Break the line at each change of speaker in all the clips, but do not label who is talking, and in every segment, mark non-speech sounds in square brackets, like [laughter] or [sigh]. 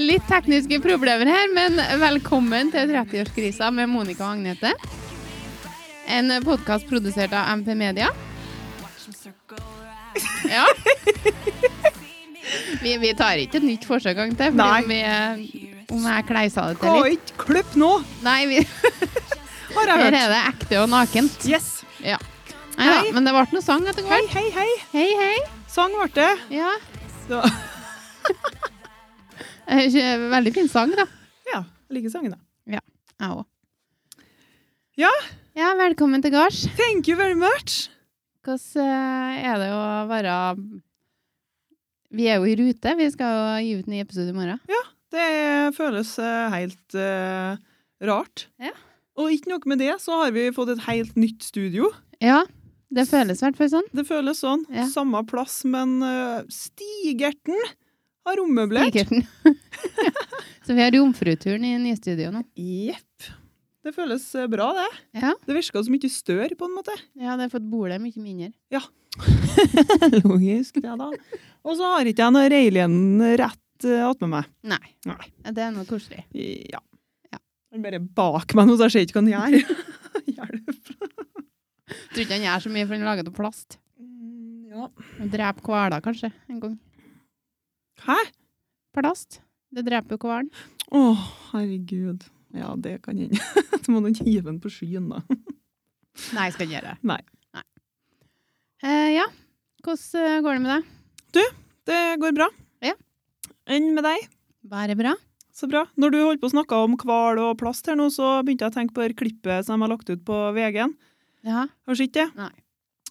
litt tekniske problemer her, men velkommen til 30-årskrisa med Monica og Agnete. En podkast produsert av MP Media. Ja. Vi, vi tar ikke et nytt forsøk en gang til.
Nei.
Fordi vi, om jeg kleisa det til
Kan
litt.
ikke klippe nå,
Nei, vi,
har jeg
her
hørt.
er det ekte og nakent.
Yes.
Ja. Nei da,
Hei.
men det ble noe sang etter
Hei,
hvert.
hei, hei.
Hei, hei.
Sang ble det.
Ja.
Så, [laughs]
Eh, Veldig fin sang, da.
ja, jeg liker sangen, da.
Jeg òg.
Ja.
ja. Velkommen til gards.
Thank you very much.
Hvordan eh, er det å være Vi er jo i rute. Vi skal jo gi ut ny episode i morgen.
Det føles eh, helt eh, rart.
Ja.
Og ikke nok med det, så har vi fått et helt nytt studio.
Ja. Det føles i hvert fall sånn.
Det føles sånn.
Ja.
Samme plass, men eh, Stigerten har ommøblert.
Kikkerten. [laughs] Så vi har Jomfruturen i nye studio nå.
Jepp. Det føles eh, bra, det.
Ja.
Det virka så mye stør, på en måte.
Ja, det har fått bordet mye mindre.
[laughs] Logisk, det, da. Og så har ikke jeg noe Reilien rett eh, attmed meg.
Nei.
Nei.
Det er noe koselig.
Ja.
Ja.
Han bare bak meg nå, så jeg ser ikke hva han gjør. [laughs] Hjelp.
Tror ikke han gjør så mye, for han er laget av plast.
Mm, Ja.
Han Dreper hvaler kanskje en gang.
Hæ?
Plast. Det dreper jo hvalen.
Å, herregud. Ja, det kan hende. [laughs] Så må noen hive den på skyen, da.
Nei, skal ikke gjøre det.
Nei.
Eh, ja. Hvordan eh, går det med deg?
Det går bra.
Ja.
Enn med deg?
Været bra?
Så bra. Når du holdt på å snakke om hval og plast her nå, så begynte jeg å tenke på det klippet som de har lagt ut på VG-en.
Ja.
Har du sett det?
Nei.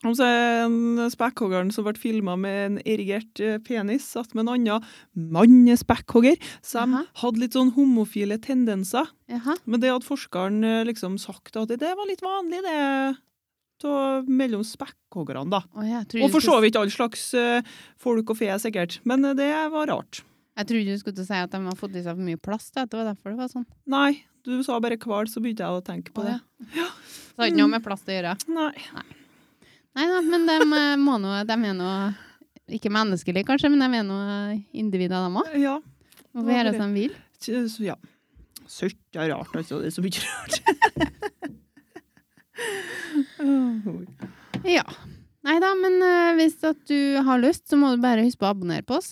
Og så er en spekkhoggeren som ble filma med en erigert eh, penis, satt med en annen mann-spekkhogger, som
Jaha.
hadde litt sånn homofile tendenser.
Jaha.
Men det hadde forskeren eh, liksom sagt at det, det var litt vanlig, det, ta- mellom spekkhoggerne, da.
Å, jeg trodde
Og
du
for så
skulle-
vidt all slags eh, folk og fe, sikkert. Men eh, det var rart.
Jeg trodde du skulle til å si at de har fått i seg for mye plast. At det var derfor det var sånn.
Nei, du sa bare hval, så begynte jeg å tenke på
Å,
det.
ja. Så det har ikke noe med plast å gjøre.
Nei.
Nei da, men de, eh, må nå- de er nå ikke menneskelige, kanskje, men de er nå individer, de òg.
Ja.
De får gjøre som de vil.
Så, så ja. Søtt er rart, altså. Det er så mye rart. Åh.
Ja. Nei da, men eh, hvis at du har lyst, så må du bare huske på å abonnere på oss.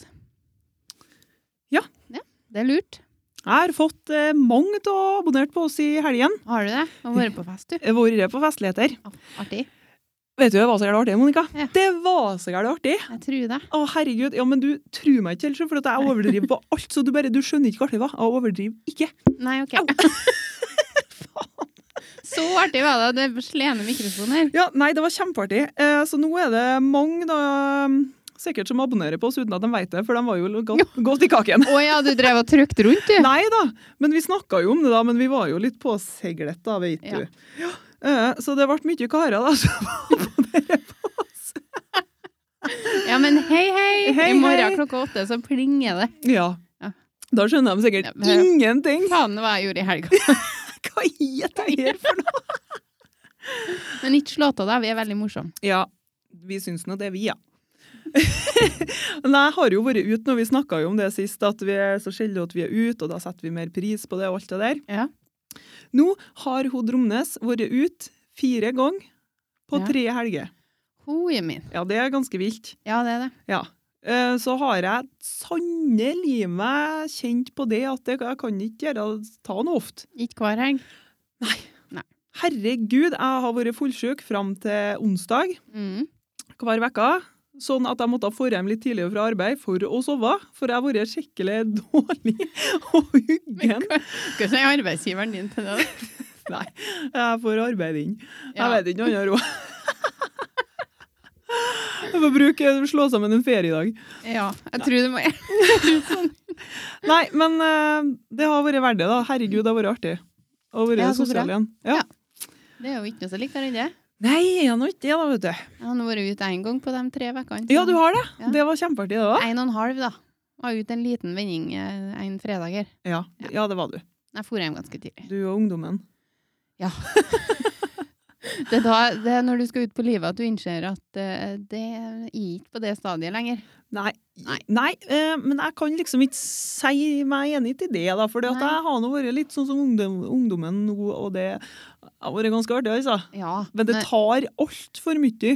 Ja.
ja. Det er lurt.
[laughs] Jeg har fått eh, mange til å abonnert på oss i helgen.
Har du det? Og vært på fest, du.
Jeg har Vært på festligheter.
Ja, Artig.
Vet du hva som er artig, Monica?
Ja.
Det var så gærent artig!
Jeg tror det.
Å, herregud. Ja, men du tror meg ikke helt, for at jeg overdriver på alt. Så du bare, du skjønner ikke hva artig var. Jeg overdriver ikke.
Nei, OK. [laughs] Så artig var det. Det er slene mikrofon her.
Ja, nei, det var kjempeartig. Eh, så nå er det mange, da, sikkert som abonnerer på oss uten at de vet det, for de var jo godt, godt i kaken.
Å ja, du drev og trykte rundt, [laughs] du.
Nei da, men vi snakka jo om det, da, men vi var jo litt påseglet, da, vet
Ja.
du. Ja, eh, Så det ble mye karer, da. [laughs] som abonnerer på oss.
Ja, men hei, hei!
Hei,
I morgen
hei.
klokka åtte så plinger det.
Ja.
Ja.
Da skjønner de sikkert
Ja, men-
ingenting!
Faen hva jeg gjorde i helga.
[laughs] Hva er det her for noe?
Men ikke slå av deg, vi er veldig morsomme.
Ja, vi syns nå det, vi, ja. [laughs] Men jeg har jo vært ute når vi snakka om det sist, at vi er så sjelden at vi er ute, og da setter vi mer pris på det og alt det der.
Ja.
Nå har hun Dromnes vært ute fire ganger på
Ja.
tre helger.
Hoje min.
Ja, det er ganske vilt.
Ja, det er det.
Ja. Eh, Så har jeg sannelig meg kjent på det at jeg jeg kan ikke gjøre, ta noe ofte.
Ikke hver helg.
Herregud, jeg har vært fullsjuk fram til onsdag
[laughs] Mm.
hver uke. Sånn at jeg måtte få hjem litt tidligere fra arbeid for å sove. For jeg har vært skikkelig [laughs] dårlig og huggen.
Hva sier arbeidsgiveren din til det?
Nei, jeg får arbeide inn.
Ja.
Jeg vet ikke noe annet råd. Jeg får bruke, slå sammen en feriedag.
Ja, jeg tror det må
Nei, men eh, det har vært verdt det, da. Herregud, det har vært artig. Å være
Ja, så
sosial
bra.
igjen. Ja.
Ja. Det er jo ikke noe som liker enn det.
Nei, jeg har nå ikke det, da, vet du.
Jeg har nå vært ute én gang på de tre ukene.
Ja, du har det.
Ja.
Det var kjempeartig, det òg.
En og en halv, da. Var ute en liten vending eh, en fredag her.
Ja. ja, det var du.
Jeg for hjem ganske tidlig.
Du og ungdommen.
Ja. Det er, da, det er når du skal ut på livet at du innser at eh, det er ikke på det stadiet lenger.
Nei.
Nei.
Nei, eh, men jeg kan liksom ikke si meg enig til det, da. For jeg
Nei.
har nå vært litt sånn som ungdom, ungdommen nå, og det har vært ganske artig, altså.
Ja,
Men det
men-
tar altfor mye.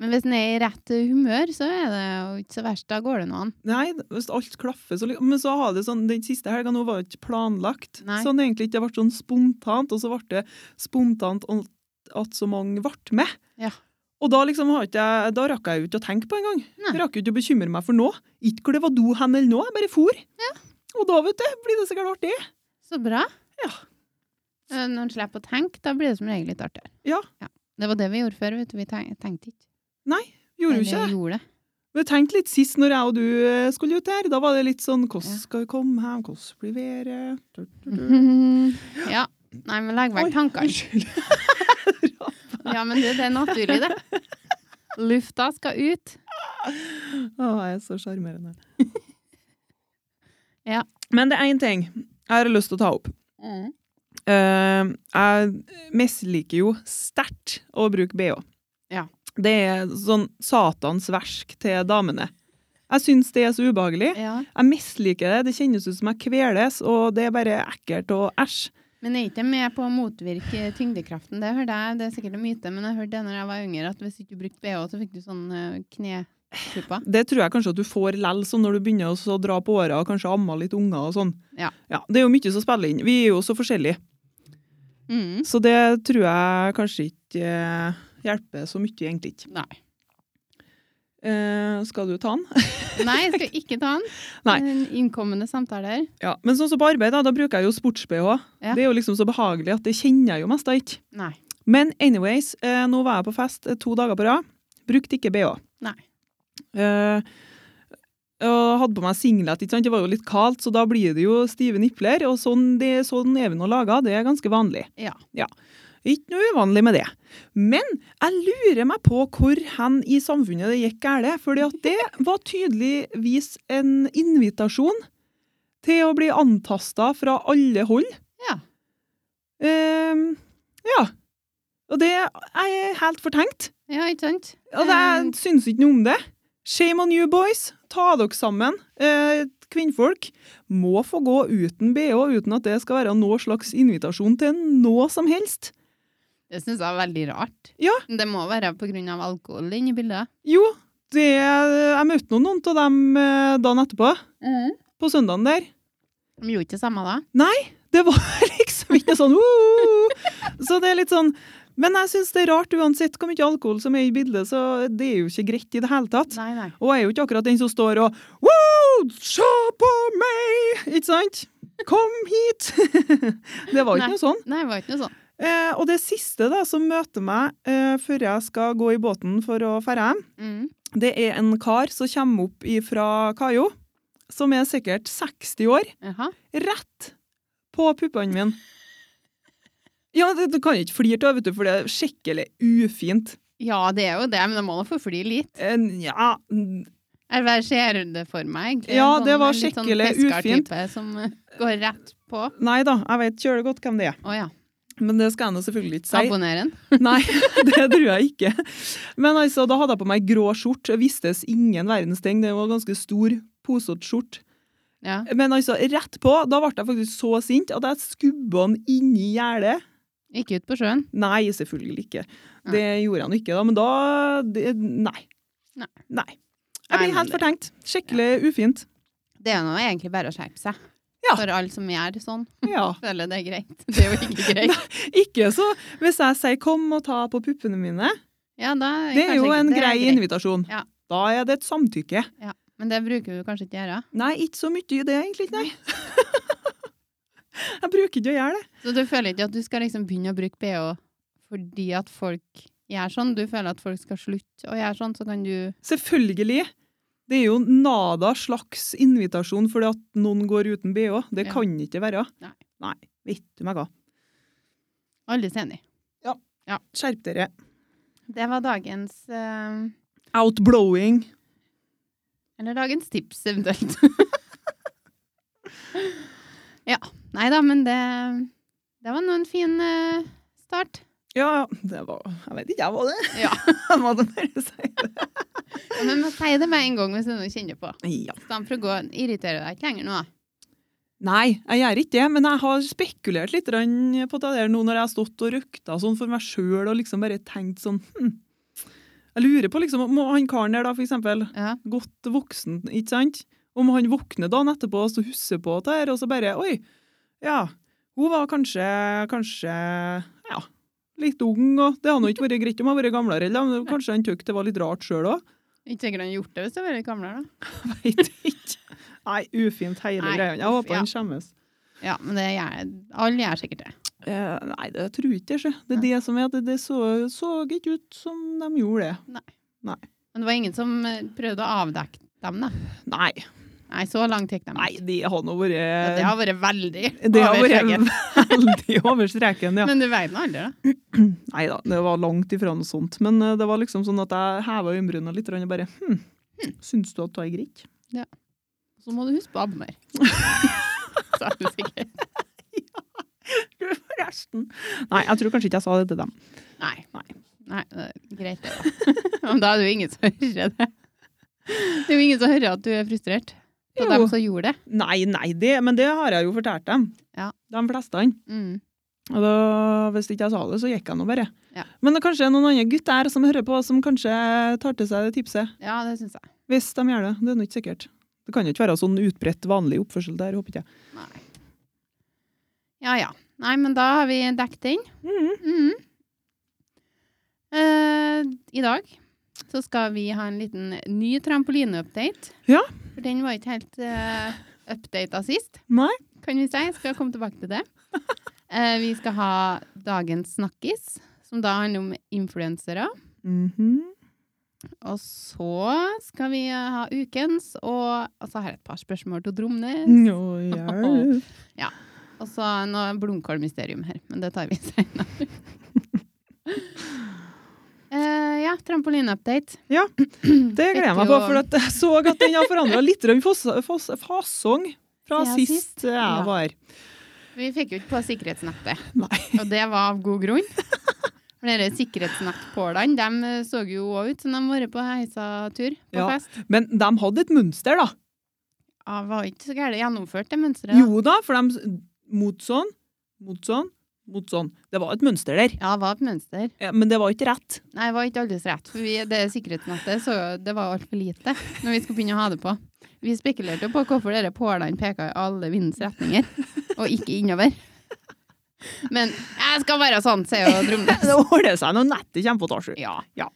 Men hvis en er i rett humør, så er det jo ikke så verst. Da går det nå an.
Nei, hvis alt klaffer så liksom. Men så har det sånn, den siste helga nå var det ikke planlagt.
Nei.
Sånn egentlig ikke. Det ble sånn spontant, og så ble det spontant at at så mange ble med.
Ja.
Og da liksom har ikke jeg, da rakk jeg jo ikke å tenke på engang.
Nei.
Jeg rakk jo ikke å bekymre meg for noe. Ikke hvor det var do hen eller noe, jeg bare for. Og da, vet du, blir det sikkert artig.
Så bra.
Ja.
Eh, Når en slipper å tenke, da blir det som regel litt artigere.
Ja.
Det var det vi gjorde før, vet du. Vi tenk- tenkte ikke.
Gjorde jo
Eller
ikke det.
gjorde det.
Men tenk litt sist når jeg og du eh, skulle ut her. Da var det litt sånn, hvordan
Ja. Mhm.
skal vi komme hjem, hvordan blir været? Du, du, du.
[laughs] ja. Nei, men legg
Mm. Oi,
vekk
[laughs]
tankene.
Unnskyld.
Ja, men det, det er naturlig, det. Lufta skal ut.
Å, jeg er så sjarmerende.
[laughs] Ja.
Men det er én ting jeg har lyst til å ta opp. Mm. Eh, jeg misliker jo sterkt å bruke bh.
Ja.
Det er sånn satans versk til damene. Jeg syns det er så ubehagelig.
Ja.
Jeg misliker det. Det kjennes ut som jeg kveles, og det er bare ekkelt og æsj.
Men er ikke det med på å motvirke tyngdekraften? Det hørte jeg, det er sikkert en myte, men jeg hørte det når jeg var yngre, at hvis ikke du brukte bh, så fikk du sånn eh, kneklippa.
Det tror jeg kanskje at du får lell sånn når du begynner å så dra på åra og kanskje amme litt unger og sånn.
Ja.
Det er jo mye som spiller inn. Vi er jo så forskjellige,
Mm.
så det tror jeg kanskje ikke eh, hjelper så mye, egentlig ikke.
Nei.
Eh, skal du ta den? [laughs]
Nei, jeg skal ikke ta den.
Nei.
En innkommende samtale her.
Ja, men sånn som på arbeid, da, da bruker jeg jo sports-BH.
Ja.
Det er jo liksom så behagelig at det kjenner jeg jo mest da ikke.
Nei.
Men anyways, eh, nå var jeg på fest eh, to dager på rad. Brukte ikke BH.
Nei.
Eh, og hadde på meg singlet, ikke sant? det var jo litt kaldt, så da blir det jo stive nipler. Og sånn, det, sånn er vi nå laga, det er ganske vanlig.
Ja.
Ikke noe uvanlig med det. Men jeg lurer meg på hvor hen i samfunnet det gikk galt. For det
[laughs]
var tydeligvis en invitasjon til å bli antasta fra alle hold.
Ja.
Ehm, ja. Og det er helt fortenkt.
Ja, ikke sant? Ehm,
Og
Mm.
jeg syns ikke noe om det. Shame on you, boys. Ta dere sammen. Eh, kvinnfolk må få gå uten bh, uten at det skal være noe slags invitasjon til noe som helst.
Det syns jeg er veldig rart.
Ja.
Men Det må være pga. alkohol inne i bildet.
Jo, det, jeg møtte nå noen av dem eh, dagen etterpå,
Mhm.
på søndagen der.
De gjorde ikke det samme da.
Det var [laughs] liksom ikke sånn «Woo!» Så det er litt sånn Men jeg syns det er rart uansett hvor mye alkohol som er i bildet, så det er jo ikke greit i det hele tatt.
Nei, nei.
Og jeg er jo ikke akkurat den som står og Wow, se på meg! Ikke sant? Kom hit! [laughs] det var jo
Nei.
ikke noe sånn.
Nei, det var ikke noe sånt.
Eh, og det siste da, som møter meg eh, før jeg skal gå i båten for å ferde hjem,
Mm.
det er en kar som kommer opp fra kaia, som er sikkert 60 år,
Jaha.
rett på puppene mine. Ja, det, du kan jo ikke flire av, vet du, for det er skikkelig ufint.
Ja, det er jo det, men det må da få fly litt.
Eh, ja,
Eller hva ser det for meg, egentlig?
Ja, det var
en litt sånn
skikkelig
fiskartype Som eh, går rett på. Å
nei da, jeg vet kjølig godt hvem det er.
ja.
Men det skal jeg nå selvfølgelig ikke si.
Abonner den.
Nei, [laughs] det tror jeg ikke. Men altså, da hadde jeg på meg grå skjort. Jeg vistes ingen verdens ting. Det var en ganske stor, posete skjort.
Ja.
Men altså, rett på, da ble jeg faktisk så sint at jeg skubba han inni gjerdet.
Ikke ut på sjøen.
Nei, selvfølgelig ikke. Det gjorde jeg nå ikke, da. Men da det, Nei.
Nei.
Jeg
Nei,
blir
men
helt
det-
fortenkt. Skikkelig ufint.
Det er nå egentlig bare å skjerpe seg.
Ja.
For alle som gjør sånn,
Ja.
føler det er greit. [laughs] Det er jo ikke greit.
Ikke så Hvis jeg sier 'kom og ta på puppene mine',
Ja, da, er
det
kanskje
er jo
ikke-
en
det er
grei
greit.
invitasjon.
Ja.
Da er det et samtykke.
Men det bruker du kanskje ikke å gjøre.
Nei, ikke så mye i det, egentlig. Nei. [laughs] jeg bruker ikke å gjøre det.
Så du føler ikke at du skal liksom begynne å bruke BH fordi at folk gjør sånn? Du føler at folk skal slutte å gjøre sånn, så kan du
Selvfølgelig. Det er jo nada slags invitasjon fordi at noen går uten bh. Det
Ja.
kan ikke være.
Nei.
Nei, vet du meg hva.
Alle er enig.
Skjerp dere.
Det var dagens eh,
Outblowing.
Eller dagens tips, eventuelt. [laughs] ja. Nei da, men det Det var nå en fin eh, start.
Ja, det var Jeg vet ikke, jeg var det.
Ja.
[laughs] Jeg måtte bare si det.
Men man sier det med en gang hvis det er noe du kjenner på.
Ja.
Istedenfor å gå irritere deg ikke lenger nå.
Nei, jeg gjør ikke det, men jeg har spekulert litt grann på det der nå når jeg har stått og røkta sånn for meg sjøl og liksom bare tenkt sånn hm. Jeg lurer på liksom om han karen der, da, for eksempel,
Ja.
godt voksen, ikke sant? Om han våkner dagen etterpå og så husker på det her, og så bare Oi, ja, hun var kanskje, kanskje ja, litt ung, og det hadde nå ikke vært greit om hun hadde vært gamlere, eller men kanskje han syntes det var litt rart sjøl òg.
Ikke sikkert han har gjort det hvis du har vært litt gamlere, da.
Veit ikke. Nei, ufint hele
Nei,
greia. Jeg
uff,
håper han skjemmes.
Ja, men det gjør, alle gjør sikkert det.
Eh, nei, det tror jeg ikke. sjø. Det er det som er at det, det så, så ikke ut som de gjorde det.
Men det var ingen som eh, prøvde å avdekke dem, da.
Nei,
Nei, så langt gikk de.
nei
ikke.
det har nå
Ja, det
vært
har vært veldig
[laughs] Det har
overskjegget.
vært veldig over streken, ja.
Men du vet nå aldri, da.
Nei da, det var langt ifra noe sånt. Men eh, det var liksom sånn at jeg heva øyenbryna litt og bare hm, syns du at jeg er grikk?
Så må du huske på abmer.
[laughs]
Så er du sikker.
Forresten. Nei, jeg tror kanskje ikke jeg sa det til dem.
Nei.
Nei.
Nei, det er greit det. da. Men da er det jo ingen som hører det. Det er jo ingen som hører at du er frustrert. På
Jo.
dem som gjorde det.
Nei, nei, det, men det har jeg jo fortalt dem.
Ja.
De fleste.
Mm.
Og da, hvis ikke jeg sa det, så gikk jeg nå bare.
Ja.
Men det kanskje er noen andre gutter som hører på, som kanskje tar til seg det tipset.
Ja, det syns jeg.
Hvis de gjør det. Det er nå ikke sikkert. Det kan jo ikke være sånn utbredt vanlig oppførsel der, håper ikke jeg.
Nei. Ja ja. Nei, men da har vi dekket den.
Mhm.
Mhm. Eh, I dag så skal vi ha en liten ny trampoline-update.
Ja.
For den var ikke helt uh, updata sist,
Nei?
kan vi si. Jeg skal komme tilbake til det. Eh, vi skal ha dagens snakkis, som da handler om influensere.
Mhm.
Og så skal vi eh, ha ukens, og og så har jeg et par spørsmål til Dromnes.
Nå gjør det.
Og så noe blomkålmysterium her, men det tar vi [laughs] senere. Eh, ja, trampoline-update.
Ja, Det gleder jeg meg på, for at jeg så at den har forandra litt grann fas fas fasong fra
Ja, sist.
sist jeg
Ja.
var her.
Vi fikk jo ikke på sikkerhetsnettet,
[laughs] Nei.
og det var av god grunn. For dere sikkerhetsnettpålene, de så jo òg ut som de har vært på heisatur på
Ja.
fest.
Men de hadde et mønster, da.
Ja, var ikke så gærent gjennomført, det mønsteret. da.
Jo da, for de s- Mot sånn, mot sånn, mot sånn. Det var et mønster der,
Ja, det var et mønster.
Ja, men det var ikke rett. [laughs]
Nei, det var ikke alles rett. For vi, det sikkerhetsnettet så det var altfor lite når vi skulle begynne å ha det på. Vi spekulerte jo på hvorfor dere pålene peka i alle vindens retninger, og ikke innover. Men jeg skal være sånn, sier jo Dromnes.
Det ordner seg når nettet kommer på tasje.
Ja.
Ja.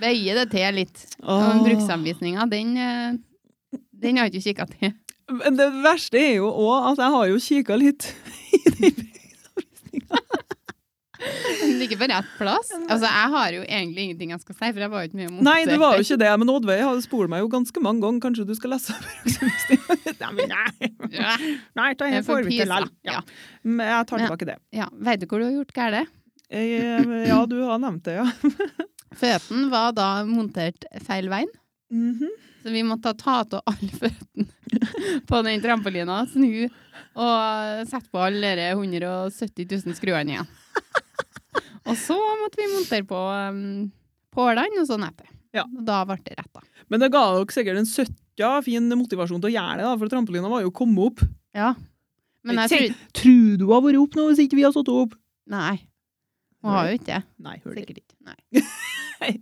Bøyer det til litt.
Åh.
Og bruksanvisninga, den, eh, den har jeg ikke kikka til.
Men det verste er jo òg at jeg har jo kikka [laughs] litt i de bruksanvisningene.
Den ligger på rett plass. Altså, jeg har jo egentlig ingenting jeg skal si, for jeg var jo ikke mye mot
Nei, det var jo ikke det, men Oddveig har spolt meg jo ganske mange ganger. Kanskje du skal lese [laughs] bruksanvisninga? Nei, men nei.
Ja,
nei, ta
Det er
en
for
forvitt
pisa.
likevel. Ja. Men jeg tar
Ja.
tilbake det.
ja. Veit du hvor du har gjort galt?
Jeg, eh, ja, du har nevnt det, ja.
Føten var da montert feil veien,
Mhm.
så vi måtte ta av alle føttene på den trampolina, snu og sette på alle de 170 000 skruene igjen. Og så måtte vi montere på um, pålene og så nettet.
Ja.
Og Da ble det rett, da.
Men det ga dere sikkert en søtta fin motivasjon til å gjøre det, da, for trampolina var jo kommet opp.
Ja. Men jeg
Tenk,
tror
Tror du har vært opp nå hvis ikke vi har satt opp?
Nei. Hun har jo ikke det.
Nei, hør det.
Sikkert ikke. Nei.
[laughs]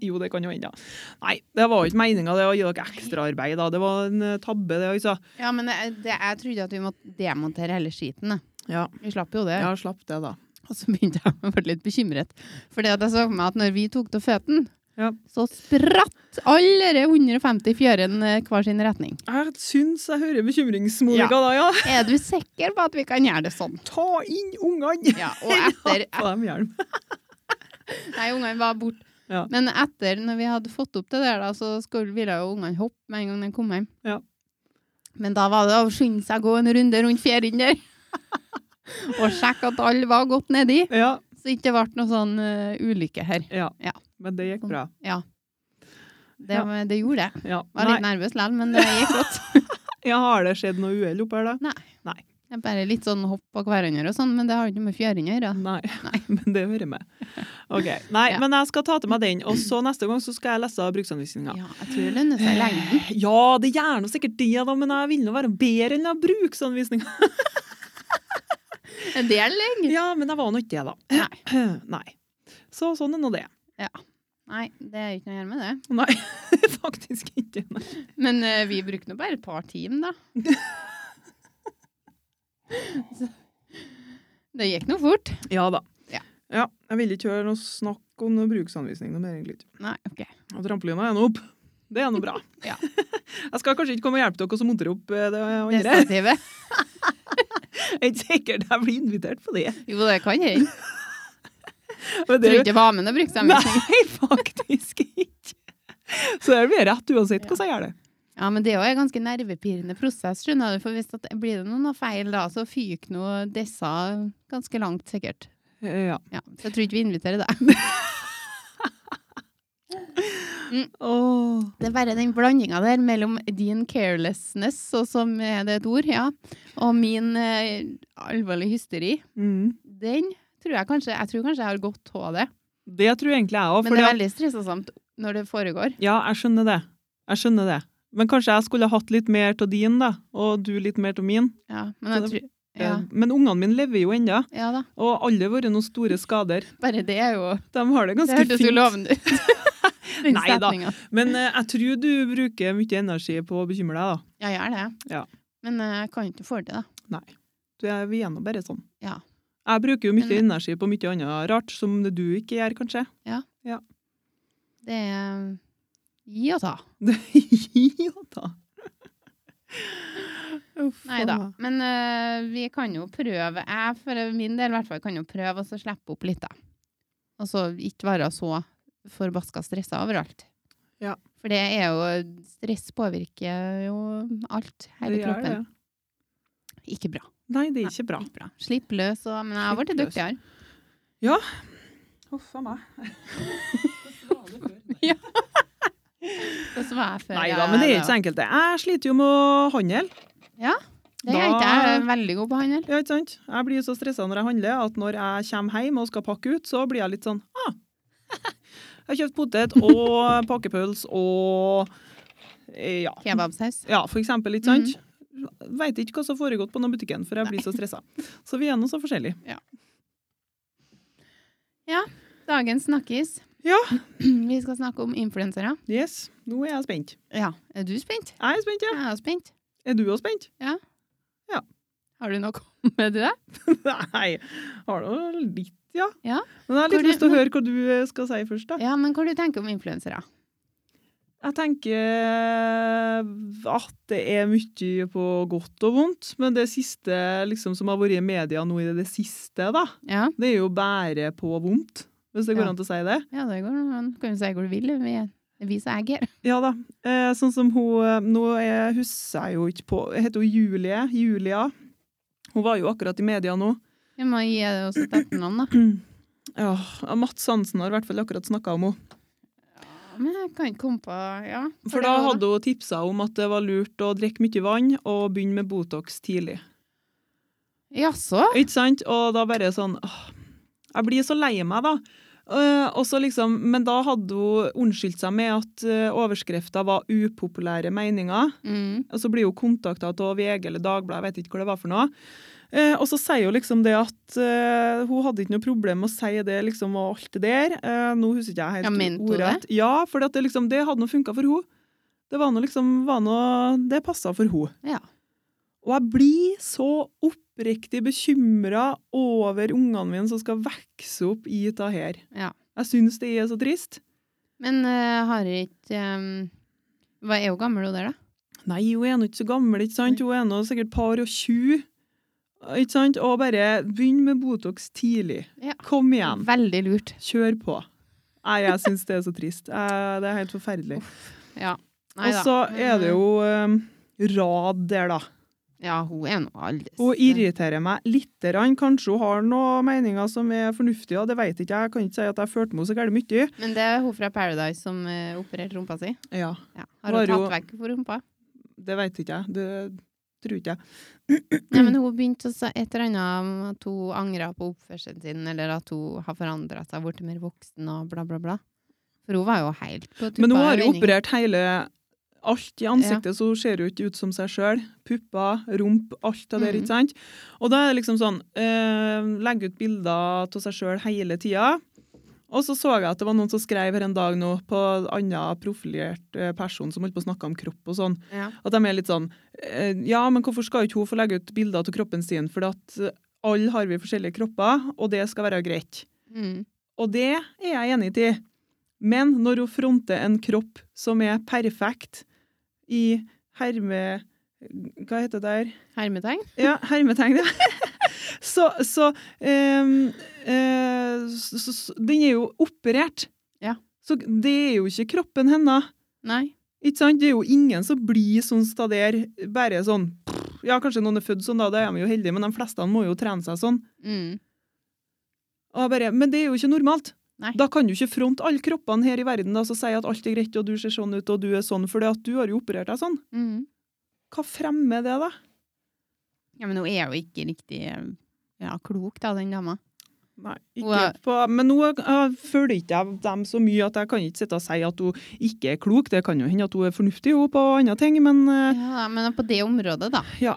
Jo, det kan jo hende. ja. Nei, det var jo ikke meninga det å gi dere ekstraarbeid, da. Det var en eh, tabbe, det, altså.
Ja, men det, det, jeg trodde at vi måtte demontere hele skiten. da.
Ja.
Vi slapp jo det.
Ja, slapp det, da.
Og så begynte jeg å bli litt bekymret. For jeg så for meg at når vi tok til føtten,
Ja.
så spratt alle de 150 fjørene eh, hver sin retning.
Jeg syns jeg hører bekymringsmonika da, ja.
Er du sikker på at vi kan gjøre det
[laughs]
sånn?
Ta inn ungene! [laughs]
Ja, og etter
Ta dem hjelm.
Nei, ungene var borte.
Ja.
Men etter, når vi hadde fått opp det der, da, så skulle, ville jo ungene hoppe med en gang de kom hjem.
Ja.
Men da var det å skynde seg å gå en runde rundt fjæren
[laughs]
der. og sjekke at alle var godt nedi,
Ja,
så ikke det ble noe sånn eh, ulykke her.
ja.
Ja.
Men det gikk bra.
Ja. Det,
Ja.
det gjorde det.
Ja.
Var
Nei,
[laughs] litt nervøs likevel, men det gikk godt.
ja, har det skjedd noe uhell oppe her, da?
Nei. Det er Bare litt sånn hopp på hverandre og sånn, men det har jo ikke noe med fjæring å gjøre.
Nei,
Nei.
[laughs] men det hører med. Ok, Nei,
Ja.
men jeg skal ta til meg den, og så neste gang så skal jeg lese bruksanvisninga.
Ja, jeg tror det lønner seg i [laughs] lengden.
Ja, det gjør nå sikkert det, da, men jeg vil nå være bedre enn den bruksanvisninga.
En del lenge.
Ja, men jeg var nå ikke det, da. Eh, Nei. Så sånn er nå det.
Nei, det er ikke noe å gjøre med det.
Nei, [laughs] faktisk ikke. Nei.
Men eh, vi brukte nå bare et par timer, da. Så, [laughs] det gikk nå fort.
Ja da.
Ja.
jeg vil ikke høre noe snakk om noe bruksanvisning noe mer, egentlig. ikke.
Nei, [laughs] OK.
Og trampolina er nå opp. Det er nå bra.
Ja.
Jeg skal kanskje ikke komme og hjelpe dere som monterer opp eh, det
Det
andre.
stativet.
[laughs] Jeg er ikke sikkert jeg blir invitert på det.
Jo, det kan hende.
Men det
Tror ikke [laughs] det var med noe bruksanvisning.
Nei, faktisk ikke. Så det blir rett uansett hvordan jeg gjør det.
[laughs] Ja, men det er jo en ganske nervepirrende prosess, skjønner du. For hvis det blir det noen feil da, så fyker nå disse ganske langt, sikkert.
Ja.
Ja, så jeg tror ikke vi inviterer deg.
Åh.
[laughs] Det er bare den blandinga der mellom din carelessness, og som er det et ord, ja, og min eh, alvorlige hysteri.
Mm.
Den tror jeg kanskje Jeg tror kanskje jeg har godt av det.
Det tror jeg egentlig jeg òg.
Men det er veldig stressamt når det foregår.
Ja, jeg skjønner det. Jeg skjønner det. Men kanskje jeg skulle hatt litt mer av din, da, og du litt mer av min.
Ja, men jeg
Så det-
tror ja,
Eh, Men ungene mine lever jo ennå,
ja da.
og aldri vært noen store skader.
Bare det er jo
De har
Det
det ganske
hørtes jo
fint.
lovende [laughs] ut. Den
Nei da.
setningen.
Men eh, jeg tror du bruker mye energi på å bekymre deg, da.
Ja, jeg gjør det.
Ja.
Men eh, jeg kan ikke få det, da.
Du er vi er nå bare sånn.
Ja.
Jeg bruker jo mye
Men-
energi på mye annet rart, som det du ikke gjør, kanskje.
Det er gi og ta.
[laughs] ja da. Uff,
Nei da.
faen meg.
Men eh, vi kan jo prøve. Jeg for min del i hvert fall kan jo prøve å så slippe opp litt, da. Og så ikke være så forbaska stressa overalt.
Ja.
For det er jo Stress påvirker jo alt. Hele
Det gjør
kroppen.
det.
Ikke bra.
Nei, det er ikke bra.
Ikke bra. Slipp løs og Men jeg har blitt
Slipp løs.
dyktigere.
Huff a meg.
Det som jeg før
Nei da,
jeg-
men det er ikke så enkelt, det. Jeg sliter jo med å handle.
Det er ikke
Da-
jeg er veldig god på handel.
Ja, ikke sant? Jeg blir så stressa når jeg handler at når jeg kommer hjem og skal pakke ut, så blir jeg litt sånn ah, Jeg har kjøpt potet og pakkepøls og eh, ja.
Kebabsaus.
ja, for eksempel, ikke sant?
Mhm.
Veit ikke hva som har foregått på den butikken, for jeg blir så stressa. Så vi er nå så forskjellige.
Dagens snakkis.
Ja.
[clears throat] Vi skal snakke om influensere.
Yes, nå er jeg spent.
Ja. Er du spent?
Jeg er spent, ja.
Jeg er spent.
Er du også spent?
Har du noe med det?
[laughs] Nei, har du litt, ja.
Ja.
Men jeg har litt
Hvor-
lyst til å høre hva du eh, skal si først, da.
Ja, men hva du tenker om influensere?
Jeg tenker at det er mye på godt og vondt, men det siste liksom, som har vært i media nå i det siste, da,
Ja.
det er jo bare på vondt, hvis det går
Ja.
an til å si det.
ja, det går an. Du kan jo si hva du vil. Vi er det er vi som eier.
Ja da. Eh, sånn som hun eh, Nå er, husker jeg jo ikke på Heter hun Julie? Julia? Hun var jo akkurat i media nå.
Vi må gi det oss et etternavn, da.
Ja, Mats Hansen har i hvert fall akkurat snakka om henne.
Ja, Men jeg kan ikke komme på Ja.
For da hadde hun tipsa om at det var lurt å drikke mye vann og begynne med Botox tidlig.
Jaså?
Ikke sant? Og da bare sånn åh, Jeg blir så lei meg, da. Eh, og så liksom, men da hadde hun unnskyldt seg med at uh, overskrifta var 'upopulære meninger'.
Mm.
Og så blir hun kontakta av VG eller Dagbladet, jeg vet ikke hva det var for noe. Eh, og så sier hun liksom det at eh, hun hadde ikke noe problem med å si det liksom og alt det der. Eh, nå husker ikke
Ja,
jeg helt
mente hun
ordrett. Ja, for det, liksom, det hadde nå funka for hun. Det var nå liksom var noe, Det passa for hun.
Ja.
Og jeg blir så oppriktig bekymra over ungene mine som skal vokse opp i dette her.
Ja.
Jeg syns det er så trist.
Men eh, har ikke um, Hva er jo gammel hun der, da?
Nei, hun er nå ikke så gammel, ikke sant? Hun er nå sikkert par og tjue. Ikke sant? Og bare begynn med Botox tidlig.
Ja.
Kom igjen.
Veldig lurt.
Kjør på. Nei, jeg syns det er så trist. Eh, Det er helt forferdelig.
Ja. Nei
Og
da,
så
men,
er det jo eh, Rad der, da.
Ja, hun er nå aldeles
Hun irriterer meg lite grann. Kanskje hun har noen meninger som er fornuftige, og det vet ikke jeg. Jeg kan ikke si at jeg følte meg så gærent mye.
Men det er hun fra Paradise som eh, opererte rumpa si.
Ja,
Ja. Har hun
Var
tatt
jo-
vekk for rumpa?
det vet ikke jeg. Det tror ikke jeg.
Nei, [clears throat] men hun begynte å si et eller annet om at hun angra på oppførselen sin, eller at hun har forandra seg, blitt mer voksen og bla, bla, bla. For hun var jo helt på tuppa.
Men hun har jo
vending.
operert hele alt i ansiktet, så hun ser jo ikke ut som seg sjøl. Pupper, rump, alt det der,
Mhm.
ikke sant? Og da er det liksom sånn eh, Legge ut bilder av seg sjøl hele tida. Og så så jeg at det var noen som skrev her en dag nå på en annen profilert eh, person som holdt på å snakke om kropp og sånn,
Ja.
at de er litt sånn eh, Ja, men hvorfor skal ikke hun få legge ut bilder av kroppen sin? For at eh, alle har vi forskjellige kropper, og det skal være greit.
Mm.
Og det er jeg enig i. Men når hun fronter en kropp som er perfekt i herme... Hva heter det der?
Hermetegn.
Ja, hermetegn, ja. [laughs] Så, så, ehm, eh, s- s- s- Den er jo operert.
Ja.
Så det er jo ikke kroppen hennes.
Nei.
Ikke sant? Det er jo ingen som blir sånn stader, bare sånn Ja, kanskje noen er født sånn, da, da er de jo heldige, men de fleste må jo trene seg sånn.
Mm.
Og jeg bare, men det er jo ikke normalt.
Nei.
Da kan du ikke fronte alle kroppene her i verden da, og si at alt er greit, og du ser sånn ut, og du er sånn, for du har jo operert deg sånn.
Mm.
Hva fremmer det, da?
Ja, men hun er jo ikke riktig eh, ja, klok, da, den dama.
Nei,
Hun
ikke
er-
på, men nå eh, følger ikke jeg dem så mye at jeg kan ikke sitte og si at hun ikke er klok. Det kan jo hende at hun er fornuftig hun, på andre ting, men eh,
Ja, men på det området, da.
Ja.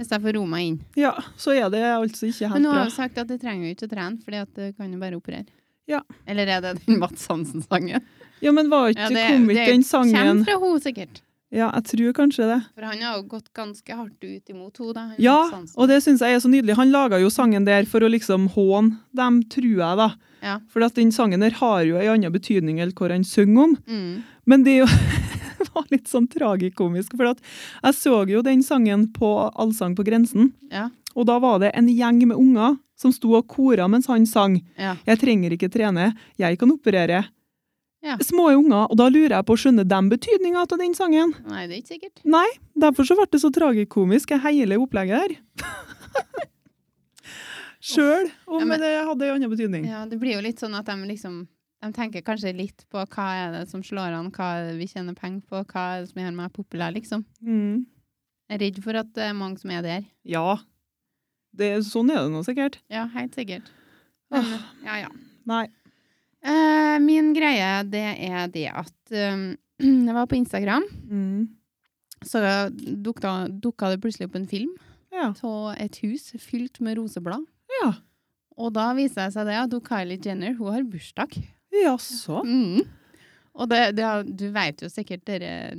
Hvis jeg får roe meg inn.
ja, så er det altså ikke
Men
helt
hun har
bra.
jo sagt at det trenger jo ikke å trene, fordi at det kan jo bare operere.
Ja.
Eller er det den Mats Hansen-sangen?
Ja, men var ikke kommet den sangen?
kommer fra hun sikkert.
Ja, jeg tror kanskje det.
For han har jo gått ganske hardt ut imot henne, da. han
Ja,
Mats Hansen.
og det syns jeg er så nydelig. Han laga jo sangen der for å liksom håne dem, tror jeg, da.
Ja.
For at den sangen der har jo ei anna betydning enn hva han synger om.
Mm.
Men det er jo [laughs] var litt sånn tragikomisk, for at jeg så jo den sangen på Allsang på grensen.
Ja.
Og da var det en gjeng med unger som sto og kora mens han sang.
Ja.
'Jeg trenger ikke trene, jeg kan operere'.
Ja.
Små unger. Og da lurer jeg på, skjønner de betydninga av den sangen?
Nei, det er ikke sikkert.
Derfor så ble det så tragikomisk, jeg hele opplegget her. [laughs] Sjøl om
Ja, men-
det hadde en annen betydning.
Ja, det blir jo litt sånn at de liksom de tenker kanskje litt på hva er det som slår an, hva er det vi tjener penger på, hva er det som gjør meg populær, liksom.
Mm.
Jeg er redd for at det er mange som er der.
Ja. Det, sånn er det nå sikkert.
Ja, helt sikkert. Men, ja, ja.
Nei.
Eh, min greie, det er det at [clears throat] um, Jeg var på Instagram,
Mm.
så dukka, dukka det plutselig opp en film
Ja.
av et hus fylt med roseblad.
Ja.
Og da viser det seg det at hun Kylie Jenner hun har bursdag.
Jaså.
Mm. Og det, det, har- du vet jo sikkert dere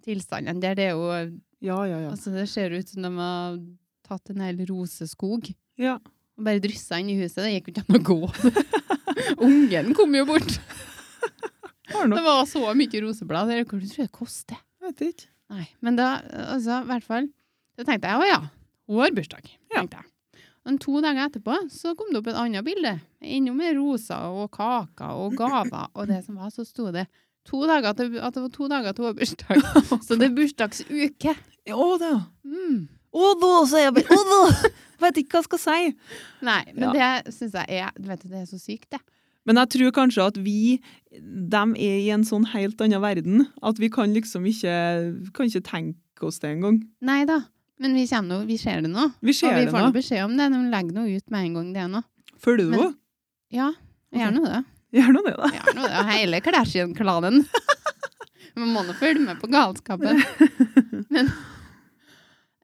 tilstandene der. Det er jo
Ja, ja, ja.
Altså, det ser ut som de har tatt en hel roseskog
Ja.
og bare dryssa inn i huset. Det gikk jo ikke an å gå. [laughs] Ungen kom jo
[laughs]
bort.
Har
Det
nok
var så mye roseblad. Det er- Hva tror du det koster?
Vet ikke.
Nei, men da, altså, i hvert fall, da tenkte jeg, å ja, hun har bursdag,
Ja.
tenkte jeg. Men to dager etterpå, så kom det opp et annet bilde, enda med roser og kaker og gaver, og det som var, så sto det to dager til, at det var to dager til hun har bursdag. Så det er bursdagsuke.
Å da.
Mm.
Å da, sier jeg bare. Å da. [laughs] Vet ikke hva jeg skal si.
Nei, men det synes jeg er, du vet, det er så sykt det.
Men jeg tror kanskje at vi, dem er i en sånn helt annen verden, at vi kan liksom ikke, kan ikke tenke oss det engang.
Nei da, men vi kommer nå, vi ser det nå.
Vi
Og
ser
vi
det
får nå
nå.
beskjed om det, de legger noe ut med en gang det er noe.
Følger du
Men-
henne?
Ja, jeg gjør nå det.
Gjør nå det, da.
Ja, nå er det hele Kardashian-klanen. Man må nå følge med på galskapen. Men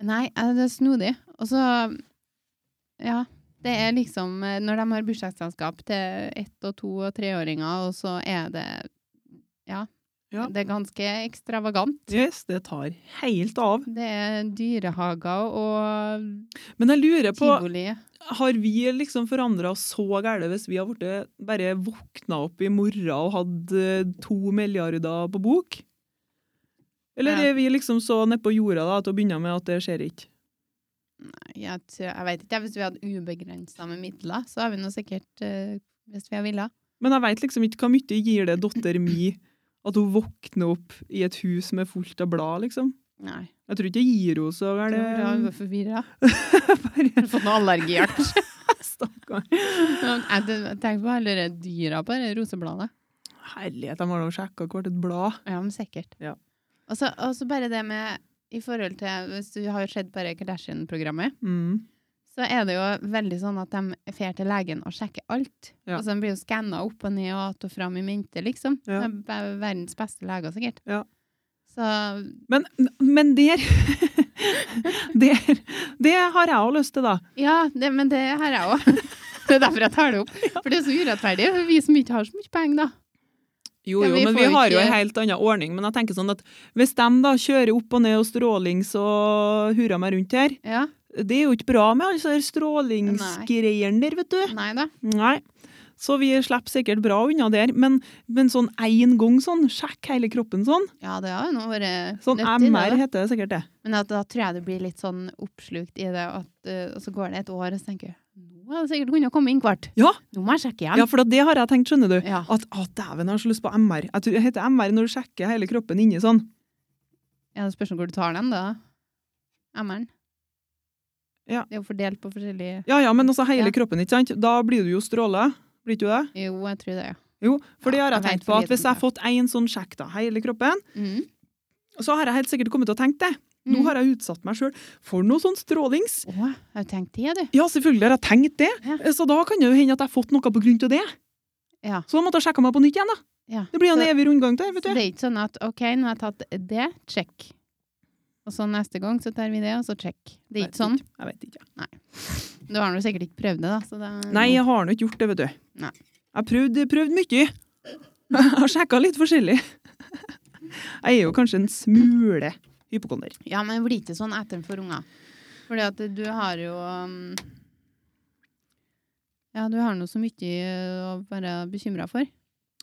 Nei, eh, det er snodig. Og så Ja. Det er liksom eh, Når de har bursdagsselskap til ett og to og treåringer, og så er det ja,
Ja.
Det er ganske ekstravagant.
Yes, det tar helt av.
Det er dyrehager og
Men jeg lurer på,
tivoli.
har vi liksom forandra oss så gærent hvis vi har blitt bare våkna opp i morgen og hatt eh, to milliarder på bok? Eller
Ja.
er vi liksom så nede på jorda da, til å begynne med at det skjer ikke?
Jeg, tror- jeg vet ikke. Hvis vi hadde ubegrensa med midler, så har vi nå sikkert eh, Hvis vi har villet.
Men jeg veit liksom ikke hva mye gir det datter mi at hun våkner opp i et hus med fullt av blad, liksom.
Nei.
Jeg tror ikke det gir henne så
Er det... Jeg
gærent. eh,
var forvirra.
[laughs] Bare
Har du [laughs] fått noe allergier, kanskje?
stakkar.
[laughs] Nei, det- Tenk på alle de dyra på det rosebladet.
Herlighet, de har da sjekka hvert et blad.
Ja, men sikkert.
Ja.
Og så og så bare det med i forhold til Hvis du har sett bare Kardashian-programmet,
Mm.
så er det jo veldig sånn at de drar til legen og sjekker alt.
Ja.
Altså, de blir jo skanna opp og ned og att og fram i mente, liksom.
Ja.
De er verdens beste leger, sikkert.
Ja.
Så
Men, men der, [laughs] der Det har jeg òg lyst til, da.
Ja, det, men det har jeg òg. [laughs] Det er derfor jeg tar det opp. For det er så urettferdig. for Vi som ikke har så mye penger, da.
Jo,
Ja,
jo,
vi
men
får
vi
jo
har jo
ikke-
en helt annen ordning. Men jeg tenker sånn at hvis de da kjører opp og ned og strålings og hurrer meg rundt her,
Ja,
det er jo ikke bra med alle disse strålingsgreiene der, vet du.
Nei da.
Nei. Så vi slipper sikkert bra unna der, men, men sånn én gang sånn, sjekk hele kroppen sånn.
Ja, det har jo nå vært
Sånn
nyttig, det,
MR
da.
heter det sikkert det.
Men at, da tror jeg du blir litt sånn oppslukt i det, at, eh, og så går det et år, og så tenker jeg nå hadde jeg sikkert kunnet komme inn hvert.
Ja.
Nå må jeg sjekke igjen.
Ja, for det har jeg tenkt, skjønner du.
Ja.
At å, dæven, jeg har så lyst på MR. Jeg tror det heter MR når du sjekker hele kroppen inni sånn.
Ja, det spørs om hvor du tar den, da. MR-en.
Ja.
Det er jo fordelt på forskjellige
Ja ja, men altså hele
Ja.
kroppen, ikke sant? Da blir du jo stråla. Blir ikke du det?
Jo, jeg tror det, ja.
Jo, for det
Ja,
har jeg
jeg vet
tenkt på.
for
at
lite om
Hvis jeg har fått én sånn sjekk da, hele kroppen,
Mm.
så har jeg helt sikkert kommet til å tenke det. Nå
Mm.
har jeg utsatt meg sjøl for noe sånn strålings.
Å, har du tenkt det, du?
Ja, selvfølgelig har jeg tenkt det,
Ja.
så da kan det jo hende at jeg har fått noe på grunn til det.
Ja.
Så da måtte jeg sjekke meg på nytt igjen, da.
Ja.
Det blir jo en
Så-
evig rundgang der,
Så
vet
det
du.
er ikke sånn at OK, nå har jeg tatt det, check. Og så neste gang så tar vi det, og så check. Det er ikke sånn.
Jeg vet ikke.
Du har nå sikkert ikke prøvd det, da. Så det
Nei, jeg har nå ikke gjort det, vet du.
Nei.
Jeg har prøvd, prøvd mye. Jeg har sjekka litt forskjellig. Jeg er jo kanskje en smule hypokonder.
Ja, men det blir ikke sånn etter for unger. Fordi at du har jo um, Ja, du har nå så mye uh, å være bekymra for.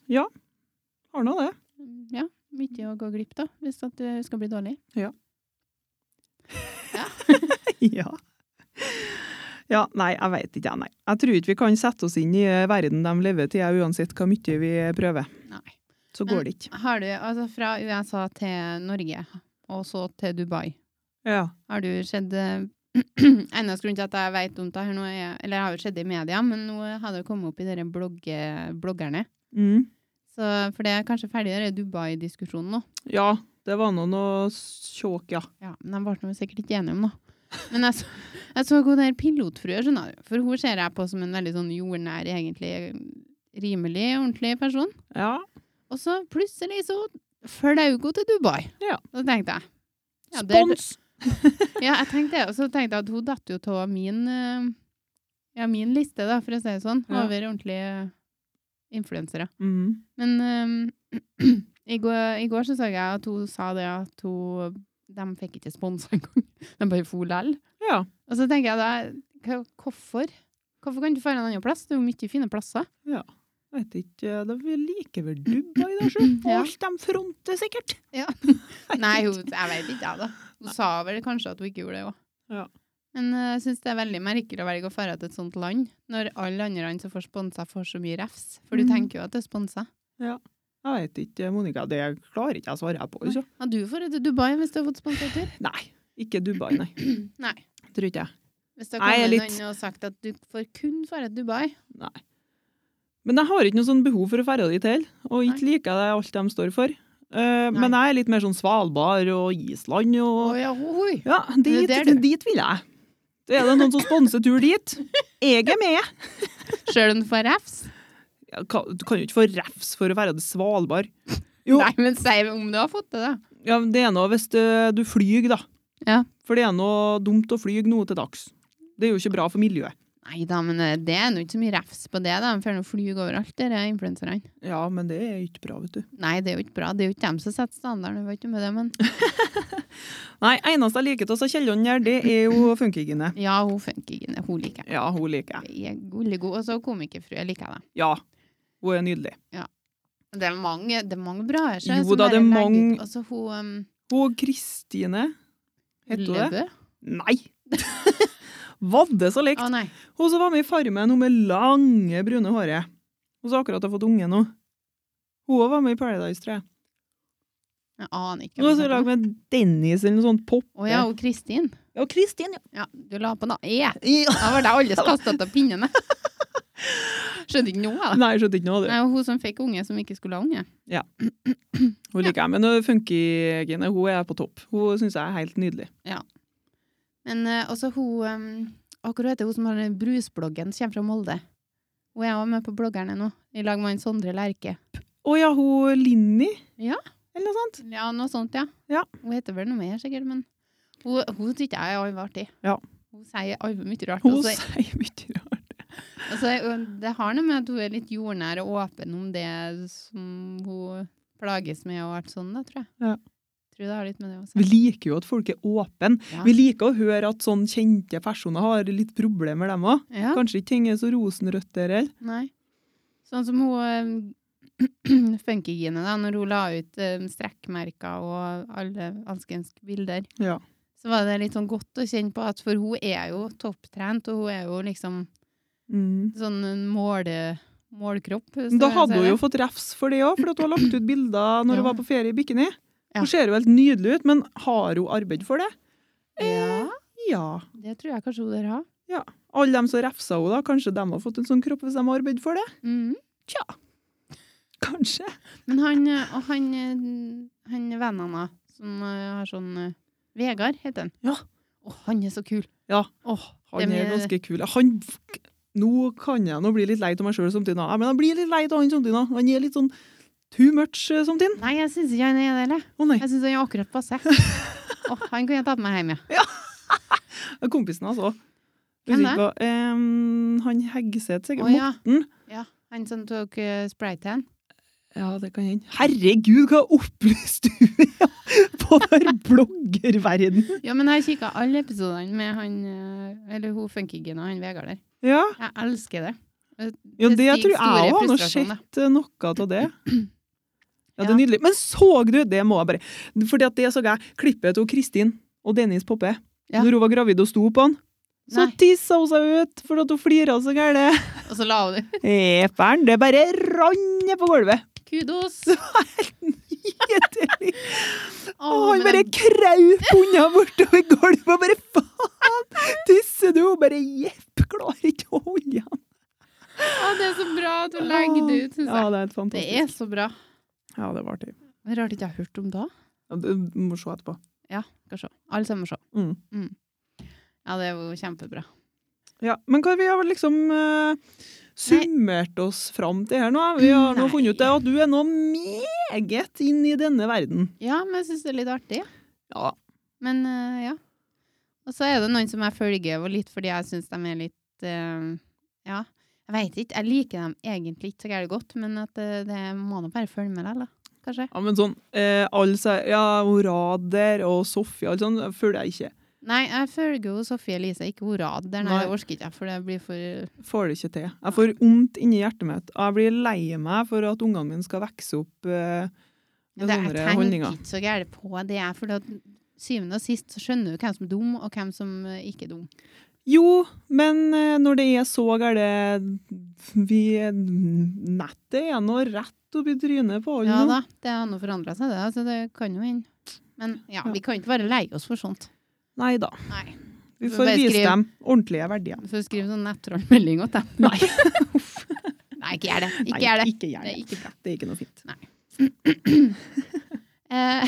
Har nå det.
Ja, mye å gå glipp av hvis at du skal bli dårlig.
[laughs] Ja. Ja, nei, jeg veit ikke, jeg, nei. Jeg tror ikke vi kan sette oss inn i eh, verden de lever til, jeg, uansett hvor mye vi eh, prøver.
Nei.
Så
Men-
går det ikke.
Har du, altså fra USA til Norge, og så til Dubai,
Ja.
har du sett eh, [clears throat] Eneste grunn til at jeg vet om det her nå, er Eller jeg har jo sett det i media, men nå har det jo kommet opp i dere blogge, bloggerne.
Mm.
Så, for det er kanskje ferdig, den Dubai-diskusjonen nå.
ja, det var nå noe sjåk, ja.
Ja, men de ble nå sikkert ikke enige om det. Men jeg så, jeg så hun der pilotfrua, skjønner du. For hun ser jeg på som en veldig sånn jordnær, egentlig rimelig ordentlig person.
Ja.
Og så plutselig så fløy hun til Dubai.
Ja.
Og så tenkte jeg ja, det-
Spons!
[laughs] Ja, jeg tenkte det. Og så tenkte jeg at hun datt jo av min, eh, ja, min liste, da, for å si det sånn,
Ja.
over ordentlige influensere.
Mm.
Men eh, [clears throat] i, går, i går så så jeg at hun sa det at hun, de fikk ikke spons engang. [laughs] De bare for lell.
Ja.
Og så tenker jeg da, hva- hvorfor? Hvorfor kan du få en annen plass? Det er jo mye fine
[laughs]
plasser.
Vet ikke, da vi liker
[clears throat]
vel Dubai, da, sjø.
Ja.
Alt de fronter, sikkert.
Ja.
Vet
Nei,
ikke.
hun, jeg vet ikke, jeg, da. Hun sa vel kanskje at hun ikke gjorde det òg.
Ja.
Men eh, jeg syns det er veldig merkelig å velge å dra til et sånt land, når alle andre land som får sponsa, får så mye refs. For du
Mhm.
tenker jo at det er sponsa.
Jeg vet ikke, Monica. Det klarer ikke jeg å svare på. Ikke?
Ja, du får til Dubai hvis du har fått sponsa tur.
Nei. Ikke Dubai, nei.
[clears throat] Nei.
Tror ikke jeg.
Hvis det
Nei, jeg
kommer
er litt-
noen og sagt at du får kun dra til Dubai.
Nei. Men jeg har ikke noe sånn behov for å ferde dit heller, og ikke liker jeg alt de står for. Eh, men jeg er litt mer sånn Svalbard og Island og
ja, hoi.
Ja, dit,
der, du.
dit vil jeg. Er det noen som sponser tur dit? Jeg er med!
Sjøl om du får refs?
Ja, ka- Du kan jo ikke få refs for å være til Svalbard. Jo,
Nei, men si om du har fått det, da.
ja, men det er noe hvis eh, du flyr, da.
Ja.
For det er noe dumt å fly nå til dags. Det er jo ikke bra for miljøet.
Nei da, men eh, det er nå ikke så mye refs på det. da. De får nå fly overalt, disse influenserne.
Ja, men det er ikke bra, vet du.
Nei, det er jo ikke bra. Det er jo ikke dem som setter standarden. Jeg var ikke med det, men
[laughs] Nei, eneste jeg liker til oss av Kjelland her, det er jo funkygine.
Ja, hun funkygine. Hun liker jeg.
Ja, hun liker jeg.
Jeg er gullig god. Og så komikerfrue liker jeg, da.
Ja, hun er nydelig.
Det er mange, det er mange bra her. så-
Jo
som
da, det er
bare legger
mange-
ut. Altså hun um,
Og Kristine, heter hun det?
Løbø.
Nei! [laughs] Vadde så likt!
Å nei.
Hun som var med i Farmen, hun med lange, brune håret. Hun som akkurat har fått unge nå. Hun også var med i Paradise, tror jeg.
Jeg aner ikke.
Hun er i lag
Å
med Dennis eller noe sånt pop.
ja, og Kristin.
Ja, Kristin, ja.
Ja, du la på noe E.
ja. [laughs]
Da var det alle kastet av pinnene. Skjønner ikke noe av det.
Nei, jeg skjønte ikke noe av det.
Nei, og hun som fikk unge som ikke skulle ha unge.
Hun liker jeg, men hun funker, Gine. Hun er på topp. Hun syns jeg er helt nydelig.
Men eh, også hun um, Akkurat heter hun som har den brusbloggen, som kommer fra Molde. Hun er også med på bloggerne nå, i lag med han Sondre Lerche.
Å ja, hun Linni?
Ja.
Eller noe sånt?
Ja, noe sånt, ja.
Ja.
Hun heter vel noe mer, sikkert, men hun, hun syns jeg er arv artig.
Ja.
Hun sier arv mye rart.
Hun
og så-
sier mye rart.
Altså, ø, det har noe med at hun er litt jordnær og åpen om det som hun plages med og alt sånn, da, tror jeg.
Ja.
Tror det har litt med det å
Vi
si.
liker jo at folk er åpne.
Ja.
Vi liker å høre at sånn kjente personer har litt problemer, dem òg.
Ja,
Kanskje ikke ting er så rosenrødt der heller.
nei. Sånn som hun ø, [clears throat] Funkygine, da, når hun la ut ø, strekkmerker og alle alskens bilder,
Ja.
så var det litt sånn godt å kjenne på at for hun er jo topptrent, og hun er jo liksom
Mm.
sånn en måle, målkropp.
Men Da
så jeg
hadde
sier
hun jo
det.
fått refs for det òg, for at hun har lagt ut bilder når hun
Ja.
var på ferie i bikini.
Ja.
Hun ser jo helt nydelig ut, men har hun arbeid for det?
Ja,
Ja.
det tror jeg kanskje hun der har.
Alle dem som refsa henne, da, kanskje de har fått en sånn kropp hvis de har arbeid for det?
Mhm.
Tja. Kanskje.
Men han, eh, og han, eh, han vennen da, som eh, har sånn eh, Vegard, heter han.
Ja.
Åh, han er så kul.
Ja.
Åh,
Han
Dem
er
er-
ganske kul. Han, nå kan jeg nå bli litt lei av meg sjøl samtidig, nå. Ja, men jeg blir litt lei av han samtidig. nå. Han er litt sånn too much eh, samtidig.
nei, jeg syns ikke han er det. eller?
Å nei.
Jeg syns han er akkurat passe. Åh, han kunne jeg tatt med hjem, ja.
Kompisen hans òg.
Hvem det?
han Hegseth, sikkert.
Å, ja.
Morten.
ja. Han som tok uh, spraytan.
Ja, det kan hende. Herregud, hva opplyst du [laughs] er på den bloggerverdenen!
Ja, men jeg har kikka alle episodene med han eh, Eller hun funkyggen og han Vegard der.
Ja,
Jeg elsker det.
ja
Det
det
stiger
tror jeg
store
òg. Har nå
frustrasjon, da.
sett eh, noe av
[clears throat]
det. Ja, det
Ja.
er nydelig. Men så du, det må jeg bare Fordi at det så jeg klippet til Kristin og Dennis Poppe
Ja.
når hun var gravid og sto på han. Så
Nei.
tissa hun seg ut fordi at hun flira så gæren.
[laughs] Og så la hun det.
Epleren, det bare rant ned på
[laughs]
gulvet.
Kudos!
Nydelig. Og
Åh,
han
men
bare
den-
kraup unna bortover gulvet og bare faen! Tisser du? Og bare jepp, klarer ikke å holde han.
Åh, det er så bra at hun legger det ut, syns jeg.
Ja, det er helt
Det
fantastisk.
er så bra.
Ja, det var artig.
Men Rart ikke jeg har hørt om da.
Ja, Du må se etterpå.
Skal se. Alle sammen må se.
Mm.
Ja, det er jo kjempebra.
Ja, men hva vi har vel liksom eh, summert oss fram til her nå? Vi har nå
Nei.
funnet ut det, at du er nå meget inn i denne verden.
Ja, men jeg syns det er litt artig.
Ja.
Men eh, ja. Og så er det noen som jeg følger, og litt fordi jeg syns de er litt eh, Ja, jeg veit ikke. Jeg liker dem egentlig ikke så gærent godt, men at eh, det må nå bare følge med deg, da. Kanskje.
ja, men sånn eh, alle sier Ja, Rader og Sofie og alt sånt føler jeg ikke.
Nei, jeg følger jo Sofie Elise, ikke Orad der, nei,
Nei.
det orker ikke jeg, for det blir for
Får det ikke til. Jeg får vondt inni hjertet mitt. og Jeg blir lei meg for at ungene mine skal vokse opp eh,
det, Jeg
med sånne
tenker
holdninger.
ikke så gærent på det, jeg, for at syvende og sist så skjønner du hvem som er dum, og hvem som eh, ikke er dum.
Jo, men eh, når det er så gærent Vi Nettet er nå rett oppi trynet på alle.
Ja
nå.
da, det har nå forandra seg, det. Så det kan jo hende. Men ja, vi kan ikke bare leie oss for sånt.
Nei da.
Nei.
Vi
Så
får
bare
vise
skriv-
dem ordentlige verdier.
Så skriv sånn nettrollmelding til dem.
[laughs] Nei,
[laughs] Nei, ikke gjør det. Ikke
Nei,
gjør det.
Ikke gjør
Det
det.
er ikke bra.
Det er ikke noe fint.
Eh,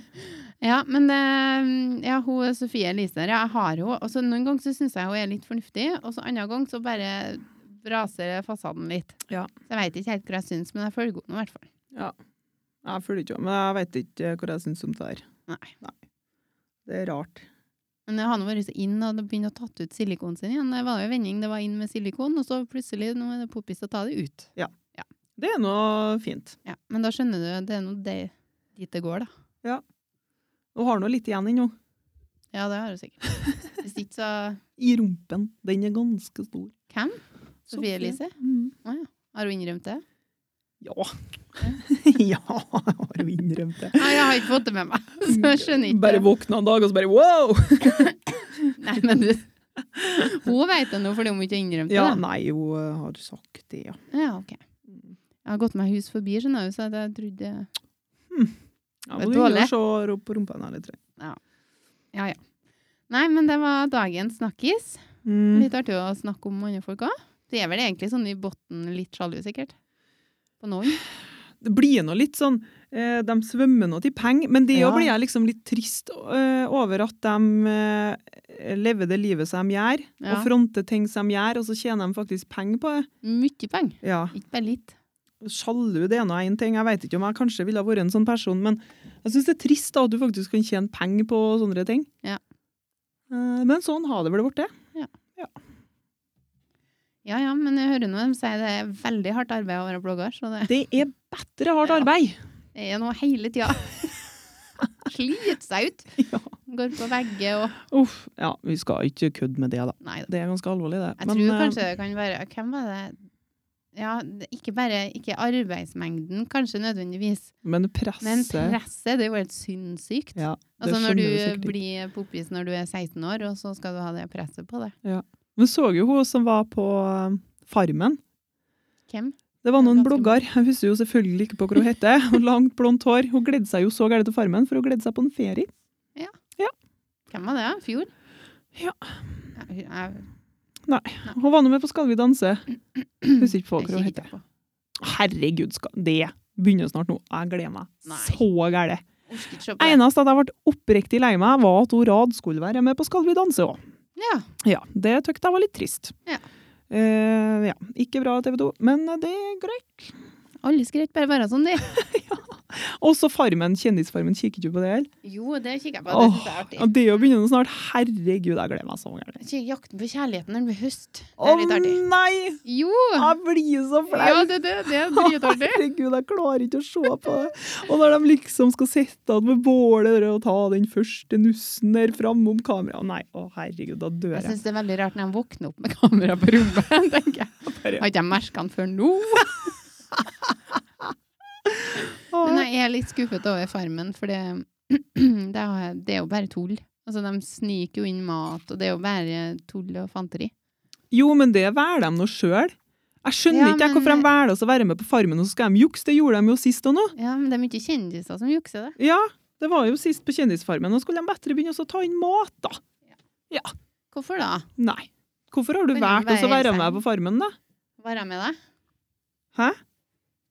[laughs] ja, men eh, ja, hun Sofie Elise der, ja, jeg har hun. Og så noen ganger så syns jeg hun er litt fornuftig, og så andre gang så bare braser fasaden litt.
Ja.
Så jeg veit ikke helt hva jeg syns, men jeg følger henne i hvert fall.
Jeg føler ikke men jeg vet ikke eh, hva jeg syns om det der.
Nei.
Det er rart.
Men jeg har nå vært så inn og begynt å tatt ut silikonen sin igjen. Det var jo en vending, det var inn med silikon, og så plutselig nå er det poppis å ta det ut.
Det er noe fint.
Ja, men da skjønner du, det er nå det- dit det går, da.
Hun har nå litt igjen ennå.
Ja, det har du sikkert.
[laughs]
Hvis ikke, så
I rumpen. Den er ganske stor.
Hvem? Sofie Elise?
Mm.
Har hun innrømt
[laughs]
det?
Ja. [laughs] ja, jeg har jo innrømt det.
Nei, jeg har ikke fått det med meg. [laughs] Så jeg skjønner ikke.
Bare våkna en dag, og så bare wow!
Nei, men du. [laughs] Hun vet det nå, fordi hun ikke har innrømt det.
Ja,
da.
nei, hun har sagt det, ja.
ja, ok. Jeg har gått meg hus forbi, skjønner du, så jeg trodde
ja
Det er
må du inn
dårlig.
og se på rumpa hennes litt.
Ja, ja. Nei, men det var dagens snakkis.
Mm.
Litt artig å snakke om andre folk òg. Du er vel egentlig sånn i bunnen litt sjalu, sikkert? På noen?
Det blir nå litt sånn eh, De svømmer nå til penger, men det
Ja.
òg blir jeg liksom litt trist eh, over at de eh, lever det livet som de gjør,
Ja.
og fronter ting som de gjør, og så tjener de faktisk penger på det.
Mye penger.
Ja.
Ikke bare litt.
Sjalu det er nå én ting, jeg vet ikke om jeg kanskje ville vært en sånn person, men jeg syns det er trist da, at du faktisk kan tjene penger på sånne ting.
Ja.
Eh, Men sånn har det vel blitt, det.
Ja ja, men jeg hører nå dem si det er veldig hardt arbeid å være blogger, så det
Det er bedre hardt arbeid!
[laughs] er noe hele
[laughs]
tida. Sliter seg ut.
Ja.
Går på vegger og
Uff. Ja, vi skal ikke kødde med det, da.
Nei da.
Det er ganske alvorlig, det.
Jeg
Men,
tror
eh,
kanskje det kan være Hvem var det? Ja, det- ikke bare ikke arbeidsmengden, kanskje nødvendigvis,
men
men
presse
presset. Det er jo helt sinnssykt.
Ja, det
altså når
skjønner du
du
sikkert ikke.
blir poppis når du er 16 år, og så skal du ha det presset på deg.
Vi så jo hun som var på eh, Farmen.
Hvem?
Det var noen
Ganske-
blogger. Jeg husker jo selvfølgelig ikke på hva hun heter. [laughs] Hun langt, blondt hår. Hun gledde seg jo så gærent til Farmen, for hun gledde seg på en ferie.
Hvem var det? da? Fjord?
Ja.
Jeg, jeg,
Hun var nå med på Skal vi danse. Husker ikke på hva hun
jeg
heter.
kikker på.
Herregud, skal det begynner snart nå. Jeg gleder meg
Nei.
så gæle.
Orker ikke se på det.
Eneste at jeg ble oppriktig lei meg, var at hun Rad skulle være med på Skal vi danse òg.
Ja.
Ja, det tykte jeg var litt trist.
Ja.
Eh, ja, ikke bra TV 2, men det er greit.
Alle skal ikke bare være sånn, de.
Også Farmen, Kjendisfarmen, kikker du på det? eller?
Jo, det kikker jeg på. Det
Åh,
synes jeg er artig.
ja, det er jo begynner nå snart. Herregud, jeg gleder meg så gærent.
Jeg kikker Jakten på kjærligheten når det blir høst. Det
Å
er litt artig.
nei!
Jo!
Jeg blir så flau!
Ja, det, det, det er
[laughs]
dritartig.
Herregud, jeg klarer ikke å se på det. Og når de liksom skal sitte ved bålet og ta den første nussen der framom kameraet Nei, å herregud, da dør
Jeg
jeg.
syns det er veldig rart når de våkner opp med kamera på rommet. [laughs] tenker jeg.
[laughs] Bare-
Har ikke jeg merka den før
[laughs]
nå? Men
Å,
jeg er litt skuffet over Farmen, for det, [clears throat] det, er, det er jo bare tull. Altså, De sniker jo inn mat, og det er jo bare tull og fanteri.
Jo, men det velger de nå sjøl. Jeg skjønner
Ja,
ikke jeg hvorfor de
men-
velger oss å være med på Farmen, og så skal de jukse. Det gjorde de jo sist og nå.
Ja, Men det er mye kjendiser som jukser det.
Ja, det var jo sist på Kjendisfarmen. Nå skulle de bedre begynne også å ta inn mat, da.
Hvorfor da?
Nei. Hvorfor har du
Men
valgt oss å
være
være med
seg.
på Farmen, da?
Var jeg med deg?
Hæ?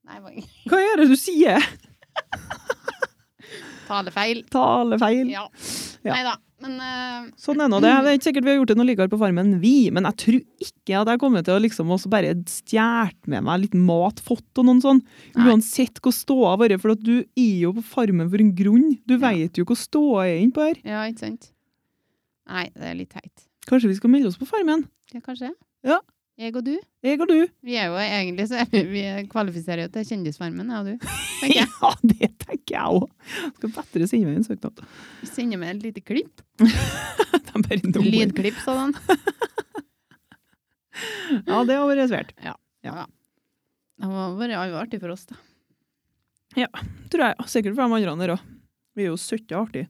Nei, bare [laughs]
Hva er det du sier?
talefeil.
Talefeil.
Ja.
Ja.
Nei da. Men eh,
Sånn er nå det. Det er ikke sikkert vi har gjort det noe likere på Farmen, vi. Men jeg tror ikke at jeg kommer til å liksom også bare stjålet med meg litt mat, fått og noen sånn.
Nei.
Uansett hvor ståa har vært, for at du er jo på Farmen for en grunn. Du
Ja.
veit jo hvor ståa er innpå her.
ja, ikke sant? Nei, det er litt teit.
Kanskje vi skal melde oss på Farmen?
Ja, kanskje.
Ja.
Jeg og du.
Jeg og du.
Vi er jo egentlig så [laughs] er vi, vi kvalifiserer jo til Kjendisfarmen, jeg og du. tenker jeg.
[laughs] Ja, det tenker jeg òg. Skal bedre sende meg en søknad. [laughs]
Vi sender med et lite klipp.
Det er bare noe.
Lydklipp, sånn.
Ja, det har vært svært.
Det var vært alvor artig for oss, da.
Tror jeg. Sikkert for de andre der òg. Vi er jo søtte artige.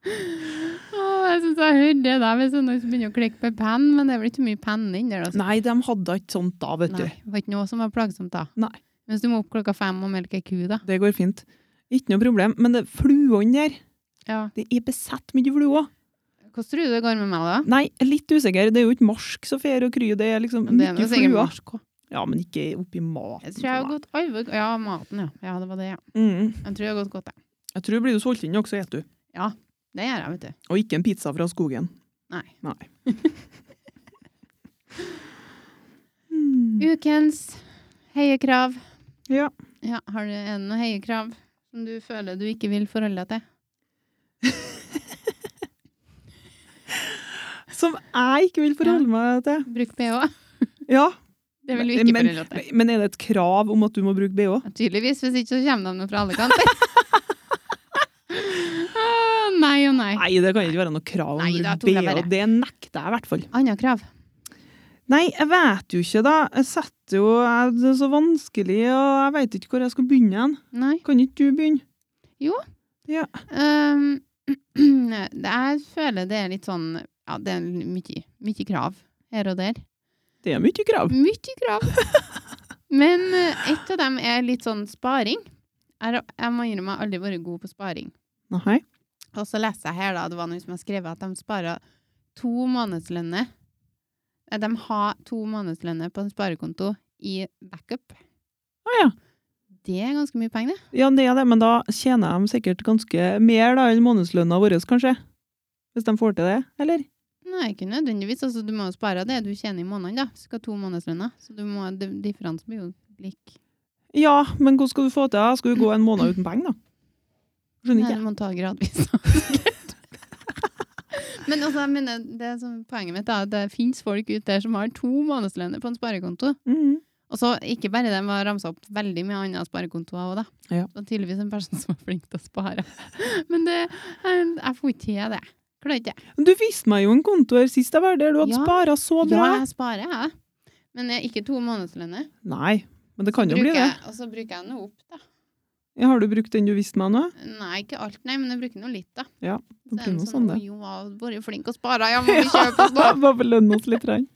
Å, jeg syns jeg hører det der hvis noen begynner å klikke på penn, men det er vel ikke mye penn inni der, altså.
Nei, de hadde ikke sånt da, vet
Nei,
du.
det var ikke noe som var plagsomt da.
Nei.
Mens du må opp klokka fem og melke ei ku, da.
Det går fint. Ikke noe problem. Men det fluene der,
Ja.
det er besatt mye fluer.
Hvordan tror du det går med meg, da?
Nei, jeg er litt usikker. Det er jo ikke marsk som fer og kryr, det er liksom
Men det er
mye
jo sikkert
fluer.
marsk også.
Ja, men ikke oppi maten.
Jeg tror jeg har
for meg.
gått alvor Ja, maten, ja. Ja, det var det, ja.
Mm.
Jeg tror jeg har gått godt, jeg.
Jeg tror blir du solgt inn nok, så spiser du.
Det gjør jeg, vet du.
Og ikke en pizza fra skogen.
Nei.
Nei.
[laughs]
Mm.
Ukens heiekrav.
Ja.
Ja, har du, er det noen heiekrav som du føler du ikke vil forholde deg til?
Som jeg ikke vil forholde meg til.
Bruk BH.
Ja,
Det vil du ikke
Men-
forholde deg til.
Men er det et krav om at du må bruke BH?
Ja, Tydeligvis, hvis ikke så kommer de noe fra alle kanter. [laughs] Å, nei og nei.
Nei, det kan ikke være noe krav om å
Nei, da
bruke
tok jeg
BH.
bare.
Det nekter jeg i hvert fall.
Anna krav.
Nei, jeg vet jo ikke, da. Jeg setter jo jeg- Det er så vanskelig, og jeg vet ikke hvor jeg skal begynne hen.
Nei.
Kan ikke du begynne?
Ehm, [clears throat] det, jeg føler det er litt sånn Ja, det er mye, mye krav her og der.
Det er mye krav.
Mye krav. Men eh, et av dem er litt sånn sparing. Jeg, jeg må innrømme jeg har aldri vært god på sparing.
Nei.
Og så leser jeg her da, det var noen som har skrevet at de sparer to månedslønner Nei, De har to månedslønner på en sparekonto i backup.
Å ja.
Det er ganske mye penger, det.
Ja, det er det, men da tjener de sikkert ganske mer da enn månedslønna vår, kanskje. Hvis de får til det, eller?
Nei, ikke nødvendigvis. Altså, du må jo spare av det du tjener i måneden, da. Du skal ha to månedslønner. Så du må, di- differansen blir jo lik.
Ja, men hvordan skal du få til det? Skal du gå en måned uten penger, da? Skjønner
Nei,
ikke.
du må ta gradvis. [laughs] Men altså, jeg mener, det som poenget mitt er at det finnes folk ute der som har to månedslønner på en sparekonto.
Mhm.
Og så ikke bare det, var ramsa opp veldig mye andre sparekontoer òg, da.
Ja.
Det var tydeligvis en person som var flink til å spare. [laughs] Men det, jeg, jeg får ikke til det. Klarer ikke det.
Men Du viste meg jo en konto her sist jeg var der, du hadde
Ja.
spara så
Ja,
bra.
jeg sparer, jeg. Men jeg, ikke to månedslønner.
Nei, men det kan jo
Bruker
bli det.
jeg- Og så bruker jeg noe opp, da.
Ja, Har du brukt den du viste meg nå?
Nei, ikke alt, nei, men jeg bruker nå litt, da.
Ja,
Så
det
er
blir
det
noe
sånn,
sånn, det.
«Oi, Jo, jeg har vært flink og spara,
[laughs]
ja, må vi kjøpe oss nå?
Bare belønne oss litt. Rann.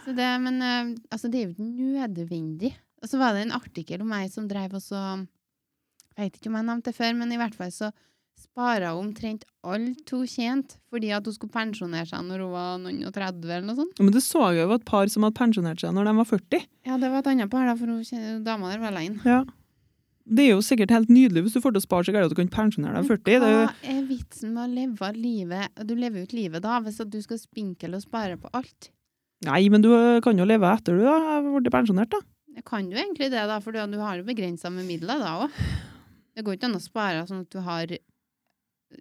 Så det, men eh, altså, det er jo ikke nødvendig. Og så var det en artikkel om meg som drev og så Jeg vet ikke om jeg nevnte det før, men i hvert fall så spara hun omtrent alt hun tjente fordi at hun skulle pensjonere seg når hun var noen og 30 eller noe sånt.
Men det så jeg jo et par som hadde pensjonert seg når de var 40.
Ja, det var et annet par, da, for hun kjen- dama der var alene.
Det er jo sikkert helt nydelig hvis du får til å spare så gærent at du kan pensjonere deg 40. Det er jo,
Hva er vitsen med å leve livet Du lever jo ikke livet da hvis at du skal spinkle og spare på alt.
nei, men du eh, kan jo leve etter du har blitt pensjonert, da.
Jeg kan jo egentlig det, da, for du, du har jo begrensa med midler da òg. Det går ikke an å spare sånn at du har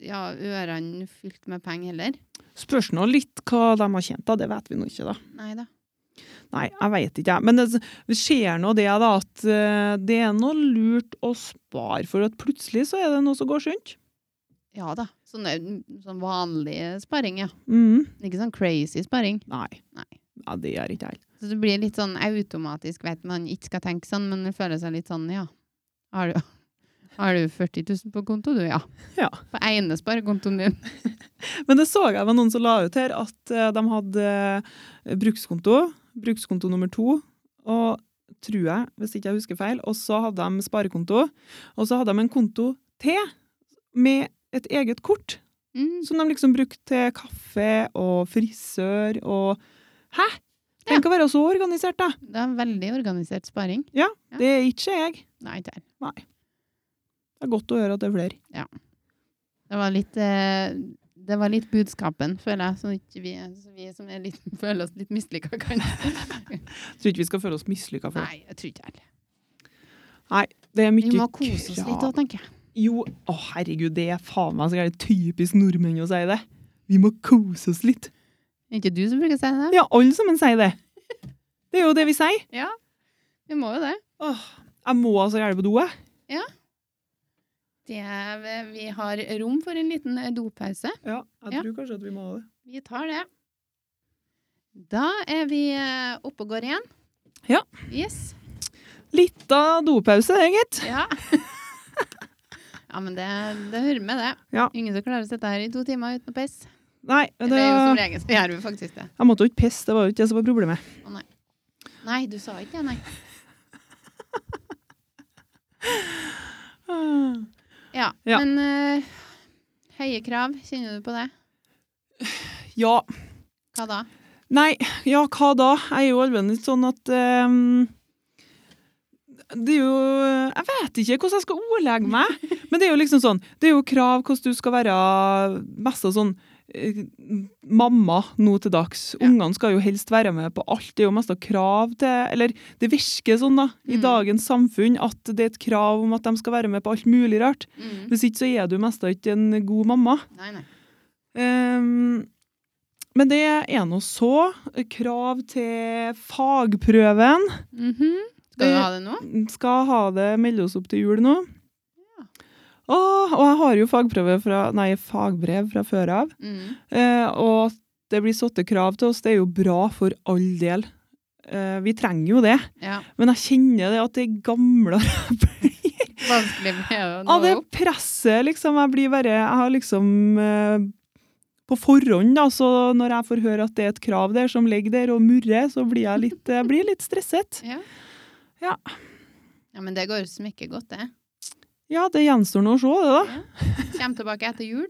ja, ørene fylt med penger heller.
Spørs nå litt hva de har tjent, da. Det vet vi nå ikke, da.
Nei da.
Nei, jeg veit ikke, jeg. Men det, det skjer nå det, da, at eh, det er noe lurt å spare, for at plutselig så er det noe som går sunt.
Ja da. Sånn, er- sånn vanlig sparing, ja.
Mhm.
Ikke sånn crazy sparing.
Nei.
Nei.
Ja, det gjør ikke jeg.
Så det blir litt sånn automatisk, vet man ikke skal tenke sånn, men det føler seg litt sånn, ja. Har du, har du 40 000 på konto, du, ja?
Ja.
På ene sparekontoen din.
Men det så jeg var noen som la ut her, at eh, de hadde eh, brukskonto, brukskonto nummer to, og tror jeg, hvis ikke jeg husker feil, og så hadde de sparekonto, og så hadde de en konto til, med et eget kort,
Mm.
som de liksom brukte til kaffe og frisør og Hæ? Tenk å være så organisert, da!
Det er veldig organisert sparing. Ja.
Det er ikke jeg.
Nei, ikke jeg.
Det er godt å høre at det er flere.
Det var litt, eh, det var litt budskapen, føler jeg, så ikke vi, så vi som er litt, [laughs] føler oss litt mislykka, kan
[laughs] Jeg tror ikke vi skal føle oss mislykka for det.
Nei, jeg tror ikke heller.
Det er mye
Vi må kose oss
krav.
litt òg, tenker jeg.
Jo, å herregud, det er faen meg så gærent typisk nordmenn å si det. Vi må kose oss litt.
Er ikke du som bruker å si det?
Ja, alle sammen sier det. Det er jo det vi sier.
Vi må jo det.
Åh, jeg må altså gjerne på do, jeg.
det er, vi har rom for en liten eh, dopause.
Ja,
jeg Ja.
tror kanskje at vi må ha det.
Vi tar det. Da er vi eh, oppe og går igjen.
Ja.
Yes.
Litt av dopause, det, gitt. [laughs]
Ja. ja, men det, det hører med, det.
Ja.
Ingen som klarer å sitte her i to timer uten å pisse.
Nei,
Det
det,
er jo som
jeg
regel så gjør vi faktisk det.
måtte jo ikke pisse, det var jo ikke det som var problemet.
Nei, du sa ikke det, nei.
Ah.
Ja,
Ja.
men eh, høye krav, kjenner du på det?
Ja,
Hva da?
nei, ja, hva da? Jeg er jo alvorlig litt sånn at ehm, det er jo Jeg vet ikke hvordan jeg skal ordlegge meg. Men det er jo liksom sånn, det er jo krav hvordan du skal være mest av sånn eh, mamma nå til dags.
Ja.
Ungene skal jo helst være med på alt. Det er jo mest av krav til Eller det virker sånn, da, i
Mm.
dagens samfunn, at det er et krav om at de skal være med på alt mulig rart.
Mm.
Hvis ikke så er du mest av ikke en god mamma.
Nei, nei.
Ehm, men det er nå så. Krav til fagprøven.
Mhm. Skal du ha det nå?
Skal ha det, melde oss opp til jul nå. Åh, og jeg har jo fagprøve fra, nei, fagbrev fra før av.
Mm.
Eh, og at det blir satt til krav til oss, det er jo bra for all del. Eh, vi trenger jo det.
Ja.
Men jeg kjenner det at det er gamle
Vanskelig med å nå
Ja, det
opp.
presset, liksom. Jeg blir bare Jeg har liksom eh, På forhånd, da, så når jeg får høre at det er et krav der som ligger der og murrer, så blir jeg litt, jeg blir litt stresset.
Ja.
Ja.
Ja, men det går smekkegodt, det.
Ja, det gjenstår nå å se, det, da.
Ja. Kjem tilbake etter jul.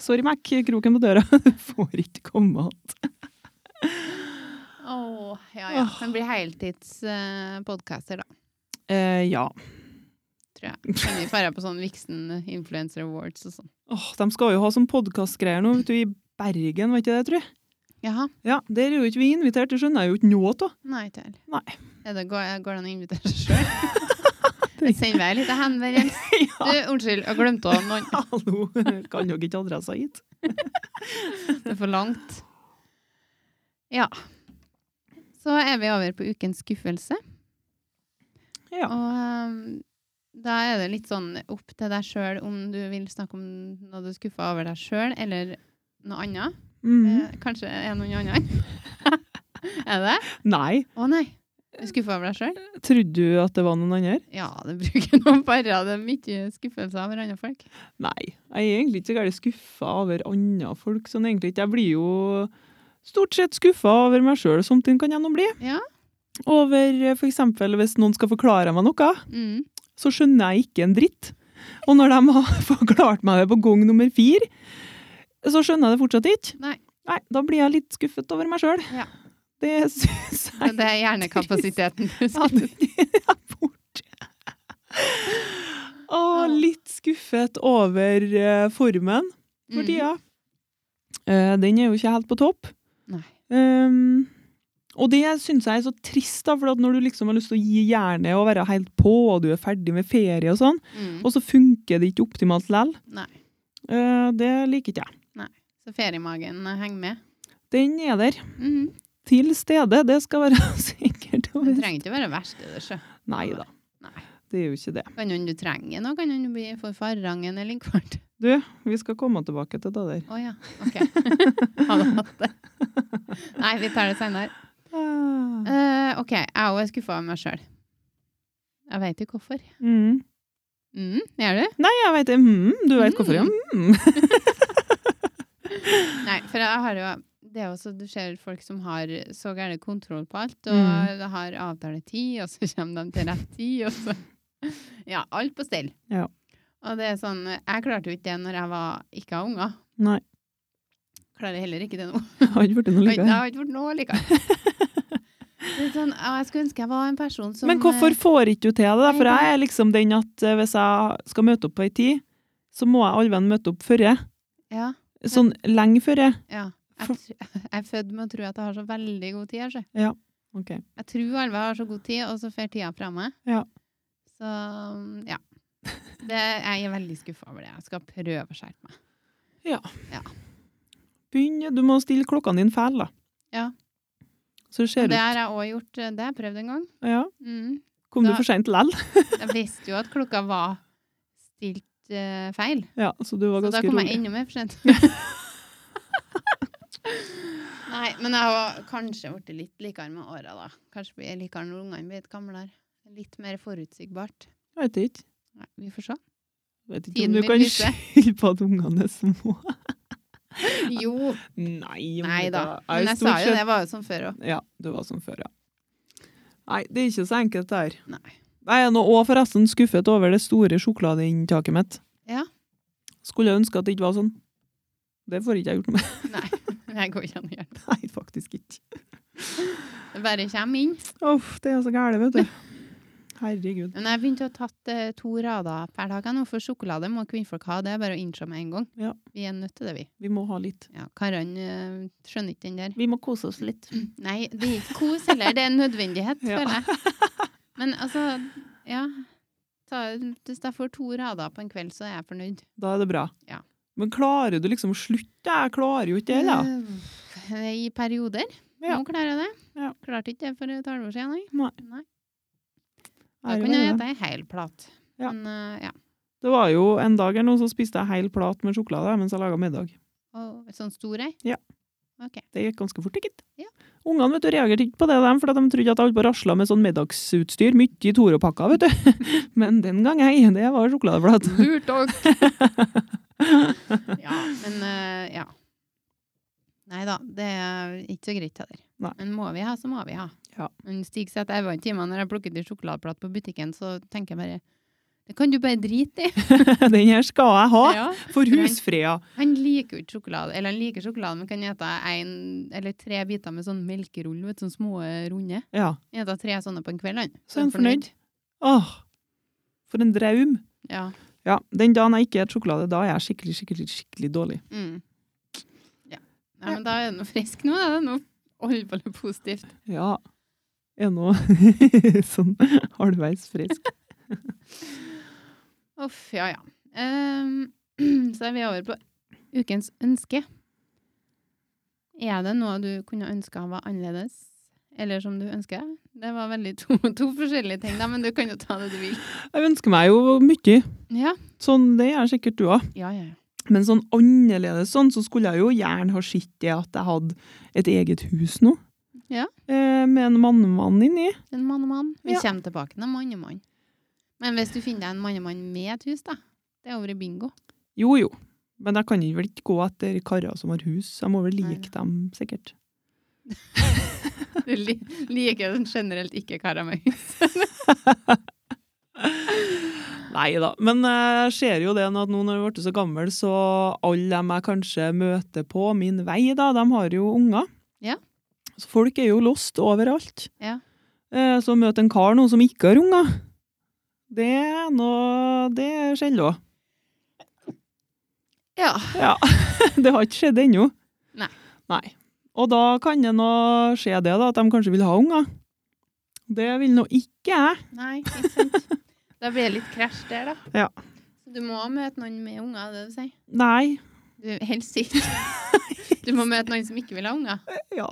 Sorry, Mac. Kroken på døra. [laughs] Du får ikke komme att.
Åh, ja, ja. Den blir heltidspodcaster, da,
Eh, ja.
tror jeg. Kan vi fare på sånn Vixen Influencer Awards og sånn.
Åh, de skal jo ha sånn podkastgreier nå, vet du, i Bergen, vet du det, tror jeg.
Jaha.
Ja, Der er jo ikke vi invitert, det skjønner jeg jo ikke noe av. [laughs]
Nei, ikke heller.
Nei.
Er det, går, går det an å invitere seg sjøl?
[laughs]
Send meg en liten henvendelse. Du, unnskyld, jeg glemte å noen.
Hallo, kan dere ikke adressa hit?
Det er for langt. Ja. Så er vi over på ukens skuffelse.
Ja.
Og ehm, da er det litt sånn opp til deg sjøl om du vil snakke om noe du er skuffa over deg sjøl, eller noe annet.
Mhm.
Eh, kanskje er noen andre. [laughs] er det?
Nei,
Å nei. Er du Skuffa over deg sjøl?
trodde du at det var noen andre?
Ja, det bruker noen parer. Det er mye skuffelser over andre folk.
Nei, jeg er egentlig ikke så gærent skuffa over andre folk. sånn egentlig ikke. Jeg blir jo stort sett skuffa over meg sjøl, somtid kan jeg nå bli.
Ja.
Over f.eks. hvis noen skal forklare meg noe,
Mm.
så skjønner jeg ikke en dritt. Og når de [laughs] har forklart meg det på gang nummer fire, så skjønner jeg det fortsatt ikke.
Nei.
Nei, da blir jeg litt skuffet over meg sjøl.
Ja.
Det [laughs] syns
Så
jeg
det er hjernekapasiteten du
[laughs] Ja,
skuffer.
det er borte. Å, litt skuffet over eh, formen
Mm. Mhm.
for tida. Eh, den er jo ikke helt på topp.
Nei.
Um, og det syns jeg er så trist, da, for at når du liksom har lyst til å gi jernet og være helt på, og du er ferdig med ferie og sånn,
Mm.
og så funker det ikke optimalt likevel.
Nei.
Eh, det liker ikke jeg.
Så feriemagen eh, henger med.
Den er der.
Mm.
Til stede, det skal være [laughs] sikkert.
Det trenger ikke å være verst. Det, sjø.
Nei da.
Nei.
Det er jo ikke det.
Kan hende du trenger noe, kan hende du blir for farrangen eller en kvart.
Du, vi skal komme tilbake til det der.
Å ja, ok. Hadde hatt det. Nei, vi tar det senere.
Ah.
Eh, ok, jeg er også skuffa over meg sjøl. Jeg veit ikke hvorfor.
Mm.
Mm, gjør du?
Nei, jeg veit det. Mm, du veit hvorfor, ja. [laughs] Mm.
Nei, for jeg har jo det er jo så, Du ser folk som har så gæren kontroll på alt, og
Mm.
de har avtaletid, og så kommer de til rett tid, og så [laughs] Ja, alt på stell.
Ja.
Og det er sånn Jeg klarte jo ikke det når jeg var ikke har unger.
Nei,
Klarer heller ikke det nå.
jeg har ikke blitt
Oi,
noe
Det
likere.
har ikke vært noe
[laughs]
likevel. Det er sånn, ja, jeg skulle ønske jeg var en person som eh,
Men hvorfor får ikke du til det? da? For
Nei, det-
jeg er liksom den at eh, hvis jeg skal møte opp på ei tid, så må jeg allvenn møte opp før jeg.
eh, Ja.
Sånn lenge før jeg.
ja. Jeg,
For-
tr- [laughs] jeg er født med å tro at jeg har så veldig god tid. Jeg,
Ok.
jeg tror alle har så god tid, og så får tida fra meg.
Ja.
Så mm, ja. Det, jeg er veldig skuffa over det. Jeg skal prøve å skjerpe meg.
Begynn, du må stille klokkene dine feil, da.
Ja.
Så ser
Det
det
har jeg òg gjort. eh, Det har jeg prøvd en gang.
ut Ja.
Mm.
Kom
Da-
du for seint lell?
Jeg visste jo at klokka var stilt eh, feil.
[laughs] Ja, så du var
Så da
ganske
kom jeg
rolig.
enda mer for
[laughs]
sent. Nei, men jeg har kanskje blitt litt likere med åra, da. Kanskje blir jeg likere når ungene blir litt gamlere. Litt mer forutsigbart.
Jeg vet ikke.
Nei, vi får se.
Vet ikke
Tiden
om du
vil
kan
vise.
skylde på at ungene er små.
[laughs] Jo,
Nei,
nei da.
er
Men jeg sa
stort
jo
sett-
det var jo som før òg.
Ja, det var som før, ja. Nei, det er ikke så enkelt det her.
Nei.
Jeg er nå òg forresten skuffet over det store sjokoladeinntaket mitt.
Ja.
Skulle jeg ønske at det ikke var sånn. Det får ikke jeg gjort noe med. [laughs]
[laughs] Nei, det går ikke an å gjøre det.
Nei, faktisk ikke.
Det bare kommer inn.
Uff, det er så gærent, vet du. Herregud.
Men jeg begynte å tatt eh, to rader per dag jeg nå, for sjokolade må kvinnfolk ha. Det er bare å innse med en gang.
Ja.
Vi er nødt til det, vi.
Vi må ha litt.
Ja, Karene eh, skjønner ikke den der.
Vi må kose oss litt.
Nei, det er ikke kos heller. Det er en nødvendighet,
Ja.
føler jeg.
[laughs]
Men altså, ja. Ta, hvis jeg får to rader på en kveld, så er jeg fornøyd.
Da er det bra.
Ja.
Men klarer du liksom å slutte? Jeg klarer jo ikke det, da.
Eh, I perioder.
Ja.
Nå klarer jeg det.
Ja.
Klarte ikke det for et halvår siden, nei.
Nei.
Da
Ære
kunne jeg
være det.
spise ei hel plat.
Ja.
Men eh, ja.
Det var jo en dag her nå, så spiste jeg hel plat med sjokolade mens jeg laga middag.
Og sånn stor ei.
Ja.
Ok.
Det gikk ganske fort, ikke?
Ja.
Ungene vet du, reagerte ikke på det, dem, for at de trodde at jeg holdt på å rasle med sånn middagsutstyr. Mye i Toro-pakka, vet du. [laughs] Men den gang, hei, det var sjokoladeflat. [laughs]
Lurt òg. ja, men eh, ja. Nei da, det er ikke så greit heller.
Nei.
Men må vi ha, så må vi ha.
Ja.
Men Stig sier at jeg vant timer når jeg plukket ut sjokoladeplate på butikken, så tenker jeg bare Det kan du bare drite i.
Den her skal jeg ha!
[laughs] Ja.
For
Nei.
husfreda.
Han liker jo ikke sjokolade. Eller han liker sjokolade, men kan spise en eller tre biter med sånn melkerull, vet du, sånn små eh, runde.
Ja.
Han spiser tre sånne på en kveld, han.
Så er han fornøyd. Åh, for en draum.
Ja.
Ja, Den dagen jeg ikke spiser sjokolade, da er jeg skikkelig skikkelig, skikkelig dårlig.
Mm. ja. Nei, men da er det noe frisk nå, da. Det er noe alvorlig positivt.
Ja. Er nå [laughs] sånn halvveis frisk.
Uff, ja, ja. Ehm, [clears throat] så er vi over på ukens ønske. Er det noe du kunne ønska var annerledes? Eller som du ønsker deg? Det var veldig [laughs] to, to forskjellige ting, da, men du kan jo ta det du vil.
Jeg ønsker meg jo mye.
Ja,
Sånn, det er sikkert du òg.
ja, ja. ja.
Men sånn annerledes sånn, så skulle jeg jo gjerne ha sett det at jeg hadde et eget hus nå.
Ja.
Eh, med en mannmann inni.
En mann og mann. Vi
Ja.
kommer tilbake til en mann og mann. Men hvis du finner deg en mann og mann med et hus, da. Det er over i bingo.
Jo, jo. Men jeg kan jo vel ikke gå etter karer som har hus. Jeg må vel like dem, sikkert.
[laughs] Du li liker den generelt ikke karer med hus.
Nei da. Men eh, jeg ser jo det nå at nå når jeg har blitt så gammel, så alle dem jeg kanskje møter på min vei, da, de har jo unger.
Ja.
Så folk er jo lost overalt.
Ja.
Eh, så møte en kar nå som ikke har unger, det er nå Det skjeller òg.
Ja.
Ja. [laughs] det har ikke skjedd ennå.
Nei.
Nei. Og da kan det nå skje det, da, at de kanskje vil ha unger. Det vil nå ikke jeg.
Nei, ikke sant. Da blir det litt krasj der, da.
Ja.
Så du må møte noen med unger, det du sier.
Nei.
Du, helst
[laughs]
ikke. Du må møte noen som ikke vil ha unger.
Ja.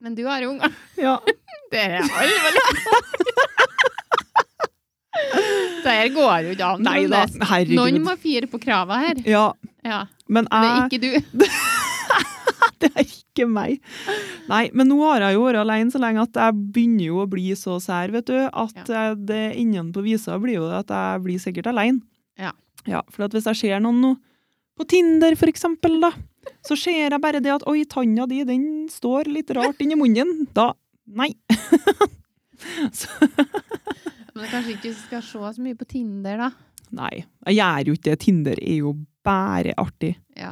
Men du har jo unger.
ja.
Det er alvorlig. Det her går jo ikke an.
Nei da.
Trond. Noen
Herregud.
må fire på krava her.
Ja.
Ja.
Men
Det er
jeg,
ikke du.
det er ikke meg. Nei, men nå har jeg jo vært alene så lenge at jeg begynner jo å bli så sær, vet du, at eh, det innen på visa blir jo at jeg blir sikkert alene.
Ja.
Ja, for at hvis jeg ser noen nå, på Tinder for eksempel da, så ser jeg bare det at, oi, tanna di, den står litt rart inni munnen. Da, nei.
Men kanskje ikke skal se så mye på Tinder, da.
Nei, jeg gjør jo ikke det. Tinder er jo bare artig.
Ja.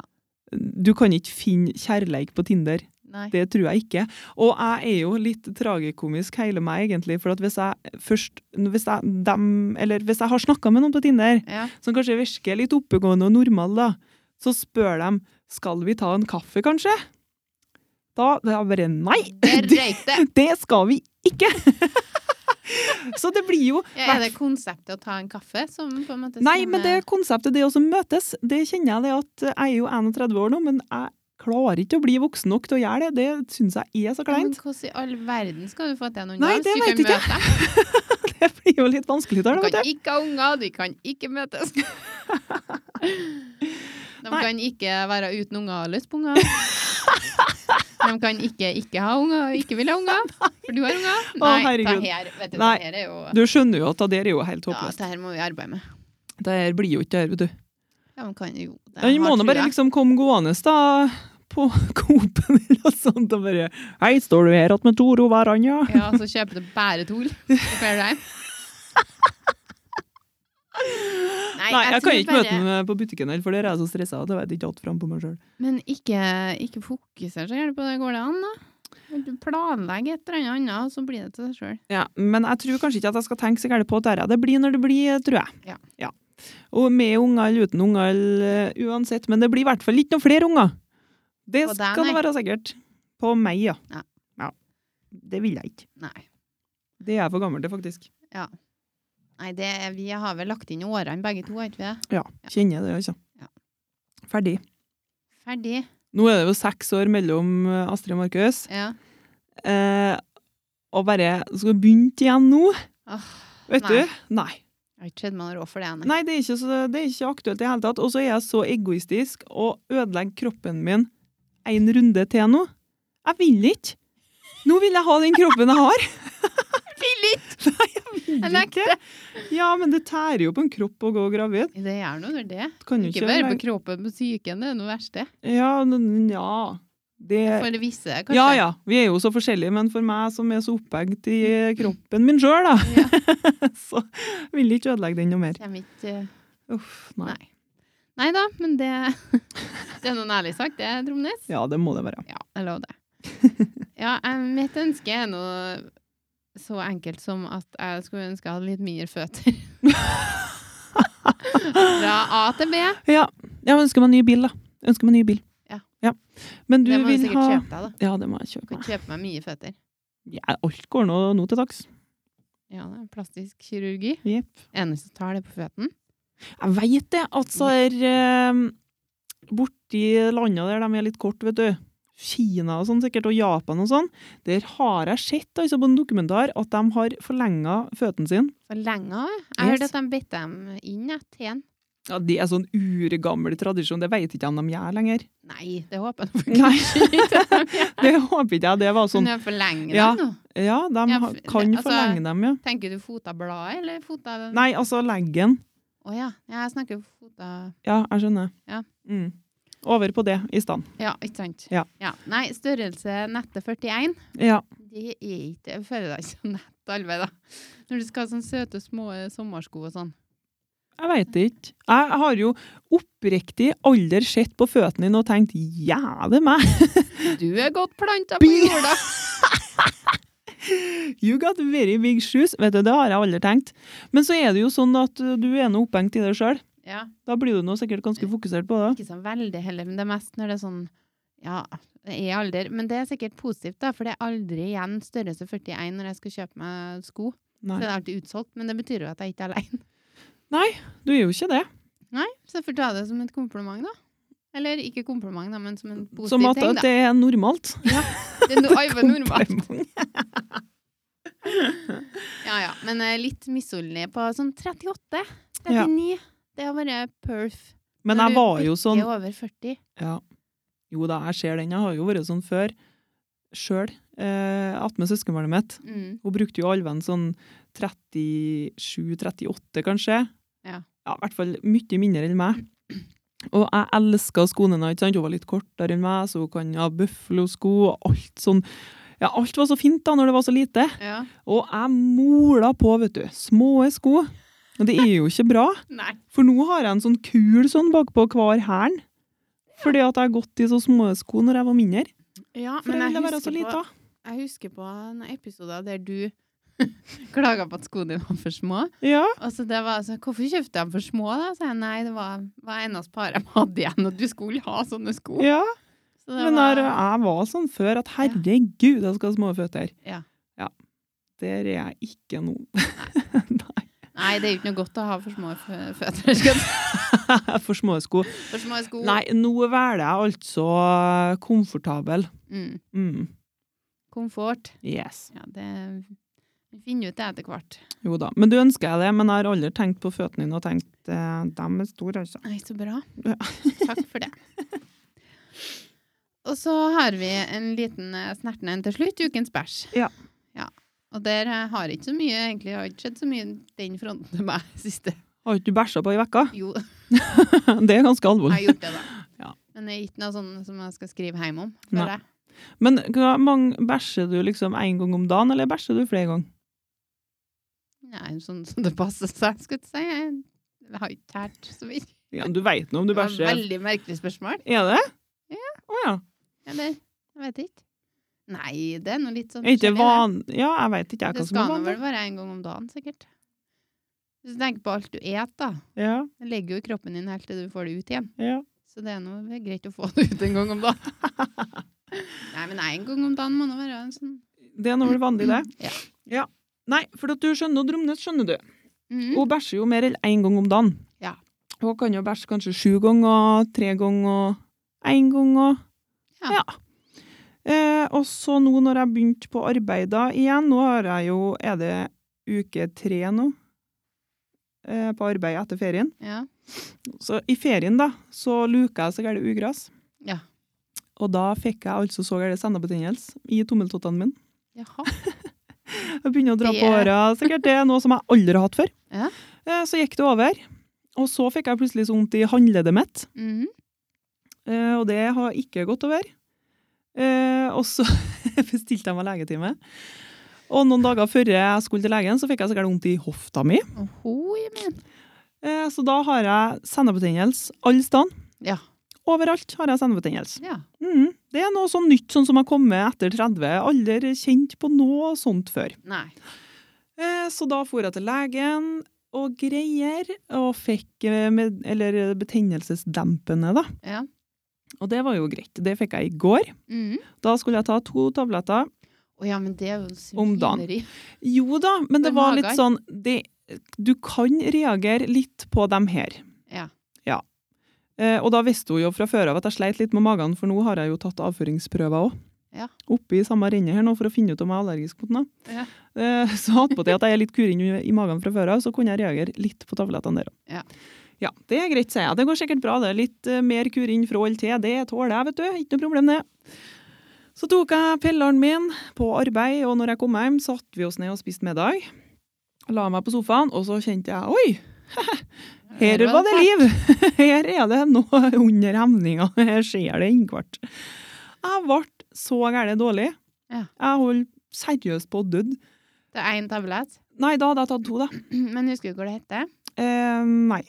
Du kan ikke finne kjærleik på Tinder.
Nei.
Det tror jeg ikke. Og jeg er jo litt tragikomisk hele meg, egentlig. For at hvis jeg først Hvis jeg, dem, eller hvis jeg har snakka med noen på Tinder,
Ja.
[laughs] som kanskje virker litt oppegående og normal, da, så spør de skal vi ta en kaffe, kanskje. Da det er jeg bare nei!
Der røyk det.
[laughs] Det skal vi ikke! [laughs] så det blir jo
Ja, er det konseptet å ta en kaffe som på en måte
Nei,
stemmer?
men det konseptet, det å som møtes, det kjenner jeg det at jeg er jo 31 år nå, men jeg klarer ikke å bli voksen nok til å gjøre det. Det syns jeg er så
Ja, men
kleint. [laughs]
Hvordan i all verden skal du få til noen
Nei,
da, hvis
det
du
vet
kan
ikke jeg.
møte deg?
Det blir jo litt vanskelig
Du
der, da,
kan
vet du.
ikke ha unger, de kan ikke
[laughs]
møtes. De
Nei.
kan ikke være uten unger og løs på unger. De kan ikke ikke ha unger og ikke vil ha unger. For du har unger. Nei, det
herregud.
her, vet du,
Nei.
det her er jo
Du skjønner jo at det der er jo helt
Ja,
håpløst.
det her må vi arbeide med.
Det her blir jo ikke det her, vet du.
Ja, men kan jo det
Den
har
må nå
trua.
bare liksom komme gående, da. På [laughs] Coop-en eller noe sånt, og bare Hei, står du her att med Toro Hverandre?
Ja, så kjøper du bare Tol på
[laughs]
Fairline.
Nei, jeg kan
tror
ikke møte den eh, på butikken heller, for der er jeg så stressa at jeg vet ikke alt fram på meg sjøl.
Men ikke, ikke fokuser så gjerne på det. Går det an, da? Du planlegger et eller annet annet, og så blir det til deg sjøl.
Ja, men jeg tror kanskje ikke at jeg skal tenke så gærent på dette. Det blir når det blir, eh, tror jeg.
Ja.
Og med unger eller uten unger eller eh, uansett. Men det blir i hvert fall ikke noen flere unger. Det
På deg,
skal
nei.
være sikkert. På meg, ja.
Ja.
Ja. Det vil jeg ikke.
Nei.
Det er jeg for gammel til, faktisk.
Nei det, er- vi har vel lagt inn årene begge to, har ikke vi det?
Ja, kjenner det, altså.
Ja.
Ferdig.
Ferdig.
Nå er det jo seks år mellom eh, Astrid og Markus.
Ja.
Eh, og bare Skal vi begynne igjen nå?
Åh,
Vet
Nei.
du? Nei.
jeg har ikke sett meg noe råd for det ennå.
Nei, det er ikke, så, det er ikke aktuelt i det hele tatt. Og så er jeg så egoistisk og ødelegger kroppen min en runde til nå. Jeg vil ikke. Nå vil jeg ha den kroppen jeg har.
Vil ikke!
Vil
[laughs] Jeg nekter.
Ja, men det tærer jo på en kropp å gå gravid.
Det gjør noe når det.
Kan jo
Ikke
ikke
bare på kroppen, på psyken. Det er noe verste.
Ja, n- n- ja. Det,
For visse, kanskje.
ja, ja. Vi er jo så forskjellige, men for meg som er så opphengt i kroppen min sjøl, da, [laughs] så vil jeg ikke ødelegge den noe mer.
Kjem ikke
Uff, nei.
Nei. eh, Nei da, men det [laughs] Det er noen ærlig sak, det, Tromnes.
Ja, det må det være.
Ja, jeg lover
[laughs]
det. Ja, eh, mitt ønske er nå så enkelt som at jeg skulle ønske jeg hadde litt mindre
[laughs]
føtter. Fra A til B.
Ja. Jeg ønsker meg en ny bil, da. Jeg ønsker meg en ny bil.
Ja.
Men du
det må du
vil
sikkert
ha
kjøpe deg, da.
Ja, det må jeg
Du
kjøpe.
kan
meg.
kjøpe meg mye føtter.
Ja, alt går nå, nå til dags.
Ja, det er plastisk kirurgi.
Jepp.
Eneste tar det på føttene.
Jeg veit det. Altså, er, eh, borti landa der de er litt korte, vet du. Kina og sånn sikkert, og Japan og sånn. Der har jeg sett altså, på en dokumentar at de har forlenga føttene sine.
For lenge. Jeg hørte
Yes.
at de bitt dem inn ja, til en.
Ja, Det er sånn urgammel tradisjon. Det veit ikke jeg om de gjør lenger.
Nei, det
[laughs]
håper jeg nå [laughs]
Nei,
ikke.
det håper ikke jeg. Det var
Sånn.
sånn
Jeg forlenger
Ja.
dem nå.
Ja, de
Ja,
ha-
for-
kan
altså-
forlenge dem, ja.
Tenker du fota bladet, eller fota Å
Nei, altså leggen.
ja. ja, jeg snakker fota
Ja, jeg skjønner.
Ja.
Mm. Over på det i stand.
Ja, ikke sant?
Ja.
Nei, størrelse nette 41,
Ja.
det er ikke Jeg føler deg ikke som nett arbeid, da. Når du skal ha sånne søte, små eh, sommersko og sånn.
Jeg veit ikke. Jeg har jo oppriktig aldri sett på føttene dine og tenkt 'jævlig meg', [laughs]
Du er godt planta på
Bi-
jorda!
you got very big shoes. Vet du, Det har jeg aldri tenkt. Men så er det jo sånn at uh, du er nå opphengt i det sjøl.
Ja.
Da blir du nå sikkert ganske fokusert på det.
Ikke så veldig heller, men det er mest når det er sånn Ja, det er alder. Men det er sikkert positivt, da, for det er aldri igjen størrelse 41 når jeg skal kjøpe meg sko. Så det
Nei,
er alltid utsolgt, men det betyr jo at jeg ikke er alene. [laughs]
du er jo ikke det.
Nei, så jeg får ta det som et kompliment, da. Eller ikke kompliment, da, men som en
Som
positiv
at
ting,
at
da.
det er normalt.
Det er
[laughs]
noe Ivar normalt.
Kompliment.
Ja, ja. Men eh, litt misunnelig på sånn 38, 39. Det har vært perf.
[laughs] Men jeg var jo sånn
Når du bikker over 40.
Ja. Jo da, jeg ser den. Jeg har jo vært sånn før sjøl. Eh, Attmed søskenbarnet mitt.
Mm.
Hun brukte jo alven sånn 37-38, kanskje.
Ja.
I hvert fall mye mindre enn meg. Og jeg elska skoene hennes. ikke sant? Hun var litt kortere enn meg, så hun kan ha bøflosko og alt sånn. Ja, alt var så fint da, når det var så lite.
Ja.
Og jeg mola på, vet du. Små sko. Og det er jo ikke bra.
Nei.
For nå har jeg en sånn kul sånn bakpå hver hæl. Fordi at jeg har gått i så små sko når jeg var mindre.
Ja,
For
men
jeg
jeg
ville være så
husker,
lita.
på, jeg husker på en episode der du [laughs] klaga på at skoene dine var for små.
Ja.
Og så det var sånn, Hvorfor kjøpte jeg dem for små, da? Så jeg nei, det var, var eneste par jeg hadde igjen, og du skulle ha sånne sko.
ja.
Så det
Men
var,
der, jeg var sånn før at herregud, jeg skal ha små føtter.
Ja.
Ja. Der er jeg ikke nå. [laughs] Nei.
Nei, det er jo ikke noe godt å ha for små fø- føtter. [laughs] skal jeg si.
For små sko.
For små sko.
Nei, nå velger jeg altså komfortabel.
Mm.
Mm.
Komfort.
Yes.
Ja, det Vi finner ut det etter hvert.
Jo da. Men du ønsker jeg det, men jeg har aldri tenkt på føttene dine og tenkt eh, dem er store, altså.
Nei, så bra.
Ja.
[laughs] Takk for det. Og så har vi en liten eh, snerten en til slutt, ukens bæsj.
Ja.
Ja. Og der eh, har ikke så mye, egentlig har ikke skjedd så mye den fronten til meg siste.
Har ikke du bæsja på ei uke?
Jo,
[laughs] Det er ganske
jeg
alvorlig.
har gjort det, da.
[laughs] Ja.
Men det er ikke noe sånn som jeg skal skrive hjem om.
Nei.
føler jeg.
Men hva, mange, bæsjer du liksom én gang om dagen, eller bæsjer du flere ganger?
Nei, sånn som det passer seg, skulle jeg si. Jeg har ikke tært så mye.
Ja, du veit nå om du
Det var et
bæsjer.
veldig merkelig spørsmål.
Er det?
Ja.
Å ja.
Eller? Jeg vet ikke. Nei, det er nå litt sånn
Er ikke
forskjellig, det.
van... Ja, jeg veit ikke jeg
Det
hva som
skal
er
nå vel
vanlig.
være en gang om dagen, sikkert. Hvis du tenker på alt du et, da.
Ja,
Det legger jo i kroppen din helt til du får det ut igjen.
ja.
Så det er nå greit å få [laughs] det ut en gang om dagen.
[laughs]
Nei, men en gang om dagen må nå være en sånn
Det er nå vel vanlig, det.
Ja.
Nei, for at du skjønner, Dromnes skjønner du.
mm.
Hun bæsjer jo mer enn én gang om dagen.
Ja.
Hun kan jo bæsje kanskje sju ganger, og tre ganger, og én gang og
Ja.
Eh, og så nå når jeg begynte på arbeid da igjen, nå har jeg jo Er det uke tre nå? Eh, på arbeid etter ferien.
Ja.
Så i ferien da, så luka jeg så gærent ugress.
Ja.
Og da fikk jeg altså så gærent sennebetennelse i tommeltottene mine.
Jaha.
Jeg begynner å dra
Det-
på åra, sikkert. Det er noe som jeg aldri har hatt før.
Ja.
Eh, Så gikk det over. Og så fikk jeg plutselig så vondt i håndleddet mitt,
Mhm.
eh, og det har ikke gått over. Eh, Eh, og så [laughs] bestilte jeg meg legetime. Og noen dager før jeg skulle til legen, så fikk jeg sikkert vondt i hofta mi.
Oho, jeg mener.
Eh, så da har jeg sennebetennelse alle steder.
Ja.
Overalt har jeg sennebetennelse.
Ja.
Mm, det er noe sånn nytt sånn som har kommet etter 30. Aldri kjent på noe sånt før.
Nei.
Eh, Så da for jeg til legen og greier, og fikk eh, med, eller betennelsesdempende, da.
Ja.
Og det var jo greit. Det fikk jeg i går.
Mm.
Da skulle jeg ta to tabletter.
Å ja, men det er jo
Om dagen.
svineri.
Jo da, men det
For
var
magen.
litt sånn det, Du kan reagere litt på dem her.
Ja.
Ja. Eh, og da visste hun jo fra før av at jeg sleit litt med magen, for nå har jeg jo tatt avføringsprøver òg.
Ja.
Oppi samme rennet her nå for å finne ut om jeg er allergisk mot noe.
Ja.
Eh, så attpåtil at jeg er litt kuring i magen fra før av, så kunne jeg reagere litt på tablettene der òg.
Ja.
ja. Det er greit, sier jeg. Det går sikkert bra, det. Litt eh, mer kuring fra eller til, det tåler jeg, vet du. Ikke noe problem, det. Så tok jeg pilleren min på arbeid, og når jeg kom hjem, satte vi oss ned og spiste middag. La meg på sofaen, og så kjente jeg Oi! [laughs] Her var det liv! [laughs] Her er det noe under hemninga. [laughs] Her skjer det innkvart. Jeg ble så gærent dårlig.
Ja.
Jeg holdt seriøst på å dø.
Det er én tablett.
Nei, da hadde jeg tatt to, da.
[clears throat] Men husker du hva det heter?
Eh, nei.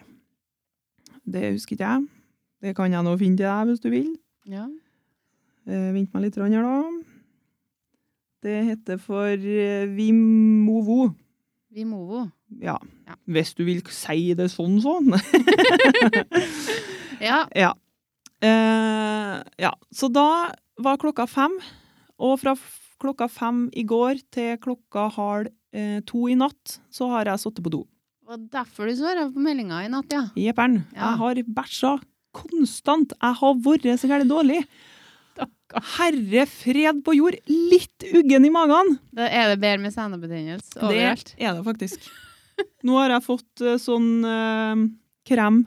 Det husker ikke jeg. Det kan jeg nå finne til deg hvis du vil.
Ja.
Eh, vent meg litt grann her, da. Det heter for eh, Vimovo.
Vimovo.
Ja.
Ja.
Hvis du vil si det sånn, sånn. [laughs]
Ja.
ja. Eh, ja. Så da var klokka fem, og fra f- klokka fem i går til klokka halv eh, to i natt, så har jeg sittet på do.
Og derfor du svarer på meldinga i natt, ja.
Jepperen.
Ja.
Jeg har bæsja konstant. Jeg har vært så gærent dårlig. Herre fred på jord. Litt uggen i magen.
Da er det bedre med sennebetennelse overalt.
Det er det faktisk. Nå har jeg fått eh, sånn eh, krem.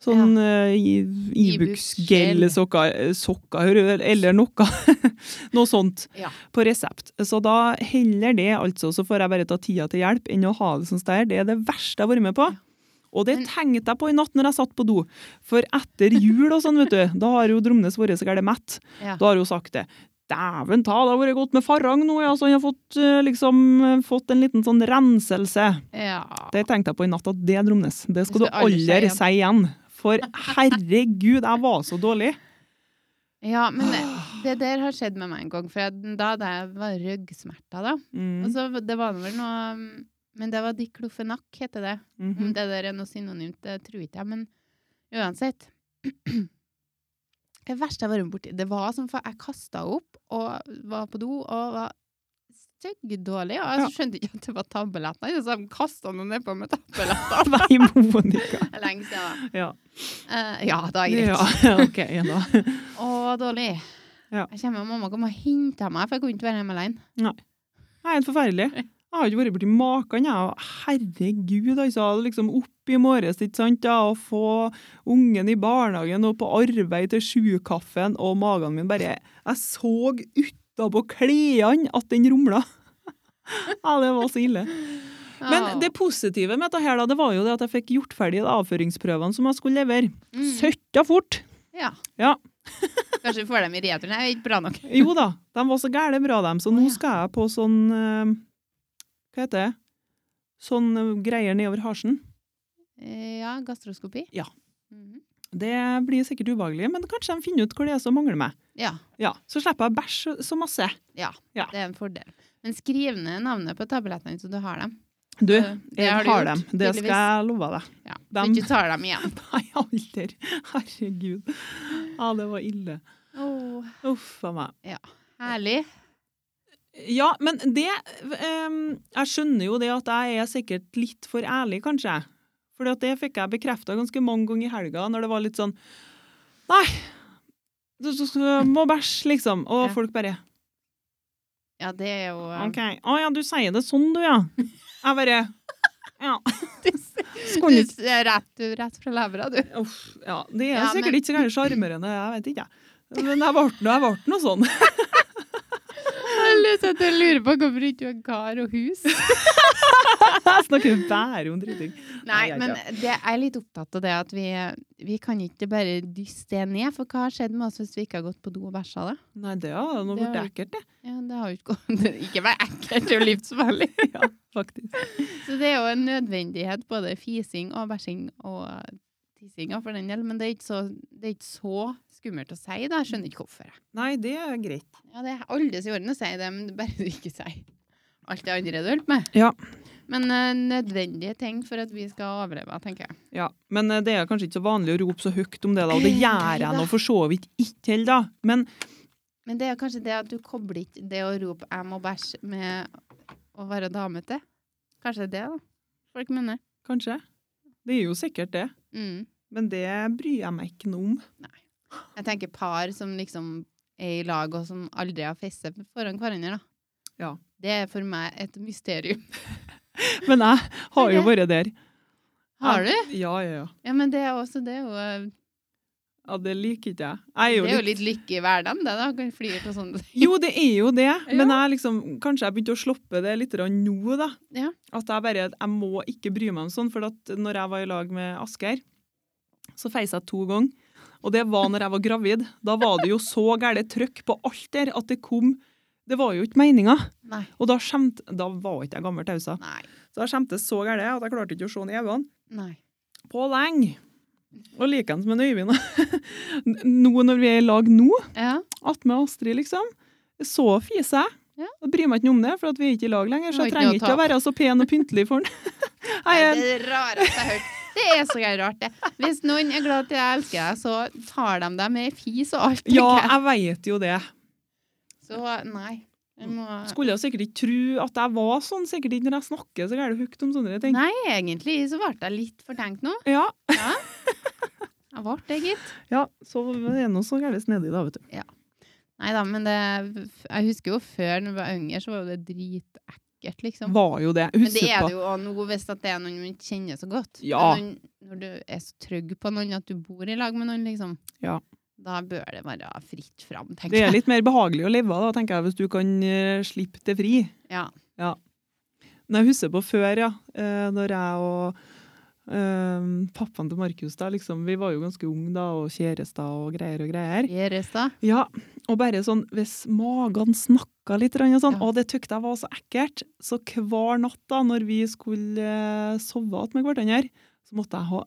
Sånn eh, i- Ibux-gel,
Ibux-gel.
sokker, eh, sokker hører du, eller noe. [laughs] noe sånt
Ja.
på resept. Så da heller det, altså. Så får jeg bare ta tida til hjelp enn å ha det sånn som det er. Det er det verste jeg har vært med på.
Ja.
Og det
Men-
tenkte jeg på i natt når jeg satt på do. For etter jul og sånn, vet du, da har jo Dromnes vært så gæren mett.
Ja.
Da har hun sagt det. Dæven ta, det har vært godt med farang nå, ja. Så han har fått, eh, liksom, eh, fått en liten sånn renselse.
Ja.
Det tenkte jeg på i natt, at det, Dromnes, det skal du
skal aldri si
aldri
igjen.
si igjen. For herregud, jeg var så dårlig.
ja, men det,
Ah.
det der har skjedd med meg en gang. For jeg- da hadde jeg var ryggsmerter, da. Og
Mm.
så det var vel noe um, Men det var diklofenak, heter det. Om
Mhm.
det der er noe synonymt, det tror ikke jeg, men uansett. Det verste jeg var borti Det var som for jeg kasta opp og var på do og var styggdårlig. Og jeg
Ja.
skjønte ikke at det var tabletter. Så de kasta noe nedpå med
[laughs]
tabletter.
Nei, Monica.
Lenge siden.
Ja.
Eh, ja, da er det greit.
ja, ok, ja da.
Å, dårlig.
Ja.
Jeg kommer, mamma kom og henta meg, for jeg kunne ikke være hjemme alene.
Nei, helt forferdelig. Jeg har ikke vært borti maken, jeg. og Herregud, altså. Liksom opp i morges, ikke sant, ja, og få ungen i barnehagen og på arbeid til sjukaffen, og magen min bare Jeg så utapå klærne at den rumla. [laughs] Ja, det var så ille. Men det positive med dette her, da, det var jo det at jeg fikk gjort ferdig de avføringsprøvene som jeg skulle levere.
Mm.
Søtta fort!
Ja.
Ja.
[laughs] Kanskje vi får dem i returen. Jeg er ikke bra nok.
Jo da, de var så gæle bra, dem. Så
Å,
nå
ja.
skal jeg på sånn eh, Hva heter det? Sånn eh, greier nedover halsen.
Eh, Ja, gastroskopi.
Ja.
Mhm.
Det blir sikkert ubehagelig, men kanskje de finner ut hvor det er som mangler meg.
Ja,
Ja, Så slipper jeg å bæsje så masse.
det er en fordel. Men skriv ned navnet på tablettene så du har dem.
Du,
Eh, det
jeg
har
har,
du gjort,
dem. Det skal
tydeligvis.
jeg love deg. [laughs]
Ja. Så
Dem.
ikke tar dem [laughs] igjen.
Nei, aldri. Herregud. Ja, det var ille.
Åh,
Uff a meg.
herlig.
Ja, men det ehm, Jeg skjønner jo det at jeg er sikkert litt for ærlig, kanskje. For det fikk jeg bekrefta ganske mange ganger i helga, når det var litt sånn Nei, du du- du må bæsje, liksom. Og
Ja.
folk bare
Ja, det er jo eh,
OK. Å ja, du sier det sånn, du, ja. Jeg bare Ja.
[laughs] eh, Du
Skulle ikke
ser rett, du, rett fra levra, du.
Uff. Ja, det er
Ja,
sikkert
men-
ikke så gærent [laughs] sjarmerende, jeg vet ikke, jeg. Men jeg ble nå- jeg ble nå sånn.
Jeg lurer Jeg lurer [laughs] på hvorfor ikke du har gard og hus.
Jeg snakker bare om driting.
Nei,
jeg
men det jeg er litt opptatt av det at vi, vi kan ikke bare dysse det ned. For hva har skjedd med oss hvis vi ikke har gått på do og bæsja det?
Nei, det har nå
Det
blitt
har-
ekkelt, det.
Ja, det har jo ikke gått. [laughs] Ikke vær ekkel, det er jo livsfarlig.
Ja, faktisk.
[laughs] Så det er jo en nødvendighet, både fising og bæsjing og tissinga for den del. Men det er ikke så, det er ikke så skummelt å si det. Jeg skjønner ikke hvorfor. jeg.
Nei, det er greit.
Ja, det er alles i orden å si det, men det er bare du ikke sier alt det andre du holder på med.
Ja.
Men eh, nødvendige ting for at vi skal overleve, tenker jeg.
Ja, Men eh, det er kanskje ikke så vanlig å rope så høyt om det, da, og det
Nei
gjør jeg
da.
nå for så vidt ikke heller, da. Men
Men det er kanskje det at du kobler ikke det å rope 'jeg må bæsje' med å være damete. Kanskje det er det da. folk mener.
kanskje. Det er jo sikkert det.
Mm.
Men det bryr jeg meg ikke noe om.
Jeg tenker par som liksom er i lag og som aldri har festet foran hverandre, da.
Ja.
Det er for meg et
[laughs]
mysterium.
Men jeg har jo vært der.
Har du?
Ja, ja, ja.
Ja, men det er også det er jo, eh,
ja det liker ikke jeg. jeg er
det
jo
er jo
litt...
litt lykke i hverdagen, det, da. Kan flire til sånne ting.
Jo, det er jo det, men jeg liksom, kanskje jeg begynte å sloppe det litt grann nå, da.
Ja.
At jeg bare jeg må ikke bry meg om sånn, for at når jeg var i lag med Asgeir, så feis jeg to ganger. Og det var når jeg var gravid. Da var det jo så gæle trøkk på alt der at det kom Det var jo ikke meninga.
Nei.
Og da skjemte Da var ikke jeg gammel tausa.
Nei.
Så jeg skjemtes så gæle at jeg klarte ikke å se ned i øynene
Nei.
på lenge. Og likeens med Øyvind. [laughs] nå når vi er i lag nå,
Ja.
attmed Astrid, liksom, så fiser jeg.
Ja.
Jeg bryr meg ikke noe om det, for at vi er ikke i lag lenger,
Det
så
var
jeg
ikke noe
trenger
å
ikke å
tape.
være så pen og pyntelig for
[laughs]
den. jeg
Nei,
er,
Det er det rareste jeg har hørt. Det er så gøy rart, det. Hvis noen er glad at jeg elsker deg, så tar de deg med i fis og alt.
ja,
tenker jeg.
jeg vet jo det.
Så nei. Jeg må...
Skulle jeg sikkert ikke tro at jeg var sånn, sikkert ikke når jeg snakker så gærent høyt om sånne ting.
Nei, egentlig så ble jeg litt fortenkt nå.
Ja.
Ja. Jeg ble det, gitt.
ja, så er det noe så gærent snedig da, vet du.
Nei da, men det, jeg husker jo før når jeg var yngre, så var jo det dritekkelt, liksom.
Var jo det.
Men det
Husker
er
på.
det jo også nå, hvis at det er noen man kjenner så godt.
Ja.
Men Når, når du er så trygg på noen at du bor i lag med noen, liksom.
Ja.
Da bør det være fritt fram, tenker
Det er
jeg. [laughs]
litt mer behagelig å leve av, da, tenker jeg, hvis du kan eh, slippe det fri.
Ja.
Når jeg husker på før, ja, eh, når jeg og eh, pappaen til Markus da, liksom, vi var jo ganske unge da, og kjærester og greier og greier.
Gjøres da.
Ja, og bare sånn, hvis magen snakka litt, grann og sånn,
Ja.
og det tykte jeg var så ekkelt, så hver natt da, når vi skulle eh, sove igjen med hverandre, så måtte jeg ha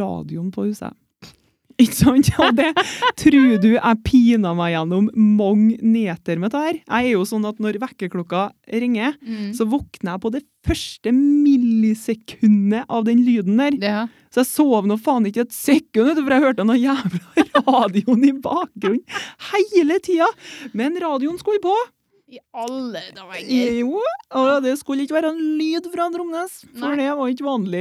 radioen på huset. [laughs] Ikke sant? Og det tror du jeg pina meg gjennom mange neter med det her. Jeg er jo sånn at når vekkerklokka ringer,
Mm.
så våkner jeg på det første millisekundet av den lyden der.
Ja.
Så jeg sov nå faen ikke et sekund, vet du, for jeg hørte den jævla [laughs] radioen i bakgrunnen hele tida. Men radioen skulle på.
I alle dager.
Jo, og det skulle ikke være en lyd fra Tromnes, for
Nei.
det var ikke vanlig.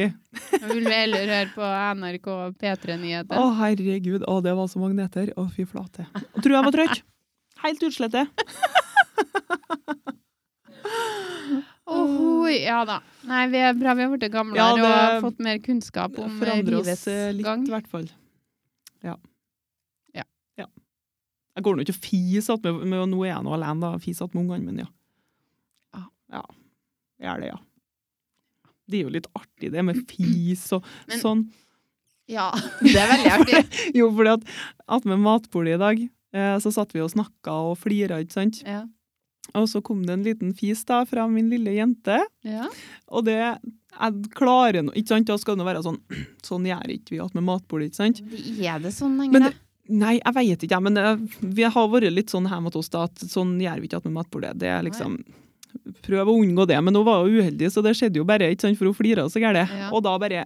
Jeg vil heller høre på NRK P3-nyheter.
Å, herregud. Å, det var så magneter. Å, fy flate. Jeg tror jeg var trøtt. Helt utslette.
Ohoi, ja da. Nei, vi er bra vi har blitt gamlere
Ja,
og
det
har fått mer kunnskap om eh,
Forandrer oss
livets
eh, litt,
gang.
i hvert fall. Ja.
Ja.
Ja. Jeg går nå ikke og fiser att med, med Nå er jeg nå alene, da. Fiser att med ungene mine, ja.
Ja.
Ja. Jeg er det, ja. Det er jo litt artig, det med fis og
[clears throat] Men-
sånn.
[laughs] Ja, det er veldig artig.
Jo, fordi at attmed matbordet i dag, eh, så satt vi og snakka og flira, ikke sant.
Ja.
Og så kom det en liten fis da fra min lille jente.
Ja.
Og det jeg klarer nå, ikke sant, da skal det nå være sånn [clears throat] Sånn gjør ikke vi attmed matbordet, ikke sant.
Det er det sånn
Men
lenger? da?
Nei, jeg vet ikke, jeg, men eh, vi har vært litt sånn her mot oss da, at sånn gjør vi ikke at med matbordet. Det er liksom, prøv å unngå det, men hun var jo uheldig, så det skjedde jo bare, ikke sant, for hun flirer så gærlig.
Ja.
Og da bare,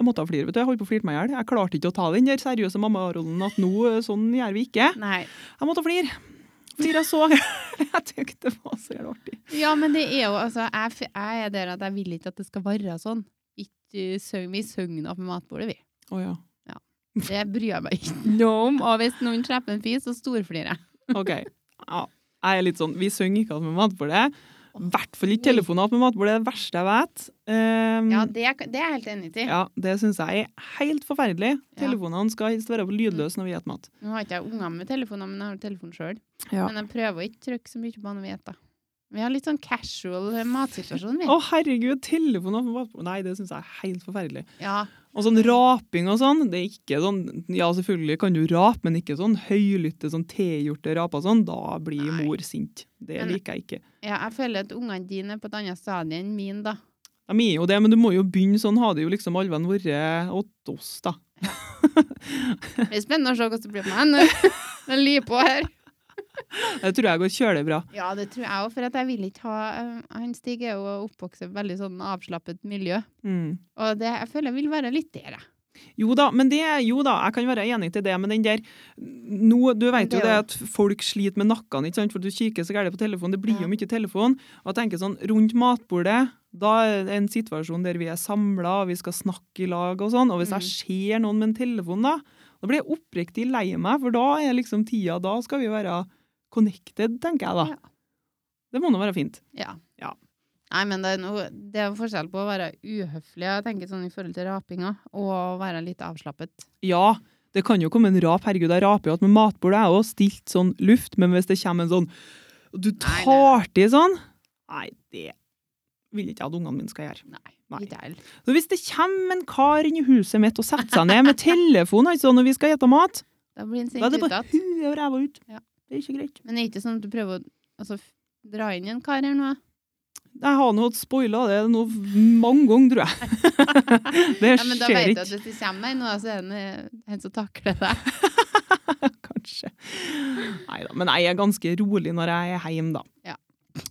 jeg måtte ha flir, vet du, jeg holdt på å flire meg ihjel. Jeg klarte ikke å ta den der seriøse mammarollen at nå, eh, sånn gjør vi ikke.
Nei.
Jeg måtte flire. Flira så [laughs] gærlig. Jeg tenkte det var så jævlig artig.
Ja, men det er jo altså Jeg, f- jeg er der at jeg vil ikke at det skal være sånn. Ikke søgn, vi søgner på matbordet, vi.
Åja,
Det bryr jeg meg
[laughs]
ikke noe om. Og hvis noen slipper en fis, så storflirer jeg.
ok. Ja, jeg er litt sånn, vi sønger ikke at med matbordet. Hvertfall ikke telefonen at med matbordet, det er det verste jeg vet. Um,
Ja, det, er- det er jeg helt enig i.
Ja, det syns jeg er helt forferdelig.
Ja.
Telefonene skal helst være på lydløs når vi spiser mat.
Nå har ikke jeg unger med telefoner, men jeg har telefon sjøl.
Ja.
Men jeg prøver å ikke trykke så mye på han vet, da. Vi har litt sånn casual
[laughs]
matsituasjon, vi.
Å, herregud, telefon og mat- Nei, det syns jeg er helt forferdelig.
Ja.
Og sånn raping og sånn, det er ikke sånn Ja, selvfølgelig kan du rape, men ikke sånn høylytte, sånn tehjorte rap og sånn. Da blir
Nei.
mor sint. Det
Men-
liker jeg ikke.
ja, jeg føler at ungene dine er på et annet stadie enn min, da.
De er jo det, men du må jo begynne sånn. Har det jo liksom alven vært åt oss, da.
Det blir spennende å se hvordan det blir med henne. [laughs] Jeg lyver på her.
Det tror jeg går kjølig bra.
Ja, det tror jeg òg, for at jeg vil ikke ha eh, Han Stig er jo oppvokst i et veldig sånn avslappet miljø,
Mm.
og det, jeg føler jeg vil være litt der, jeg.
Jo da, men det, jo da, jeg kan være enig til det, men den der nå, Du vet
Det
jo
er
det
jo-
at folk sliter med nakken, ikke sant, for du kikker så gærent på telefonen. Det blir
Ja.
jo mye telefon. Og jeg tenker sånn, rundt matbordet, da er det en situasjon der vi er samla, vi skal snakke i lag og sånn. Og hvis
Mm.
jeg ser noen med en telefon, da, da blir jeg oppriktig lei meg, for da er liksom tida Da skal vi være connected, tenker jeg da.
Ja.
Det må nå være fint.
Ja.
Ja.
Nei, men det er, noe, det er forskjell på å være uhøflig jeg tenker sånn i forhold til rapinga, og å være litt avslappet.
Ja, det kan jo komme en rap. Herregud, jeg raper jo at med matbordet er jo stilt sånn luft, men hvis det kommer en sånn og Du
Nei,
tar til sånn Nei, det vil ikke jeg at ungene mine skal gjøre.
Nei,
Nei.
ikke jeg.
Så hvis det kommer en kar inn i huset mitt og setter seg ned med telefon altså, når vi skal
[laughs]
spise mat,
Da blir en
da er
sint
det bare
utad.
huet og ræva ut.
Ja.
Det er ikke greit.
Men det er ikke sånn at du prøver å altså, f- dra inn en kar her nå?
Jeg har nå spoila det nå mange ganger, tror jeg. [laughs] det
Ja, men da
skjer
vet du
ikke.
at hvis det kommer en nå, så er det en- en som takler
[laughs]
deg.
Kanskje. Nei da. Men jeg er ganske rolig når jeg er hjemme, da.
Ja.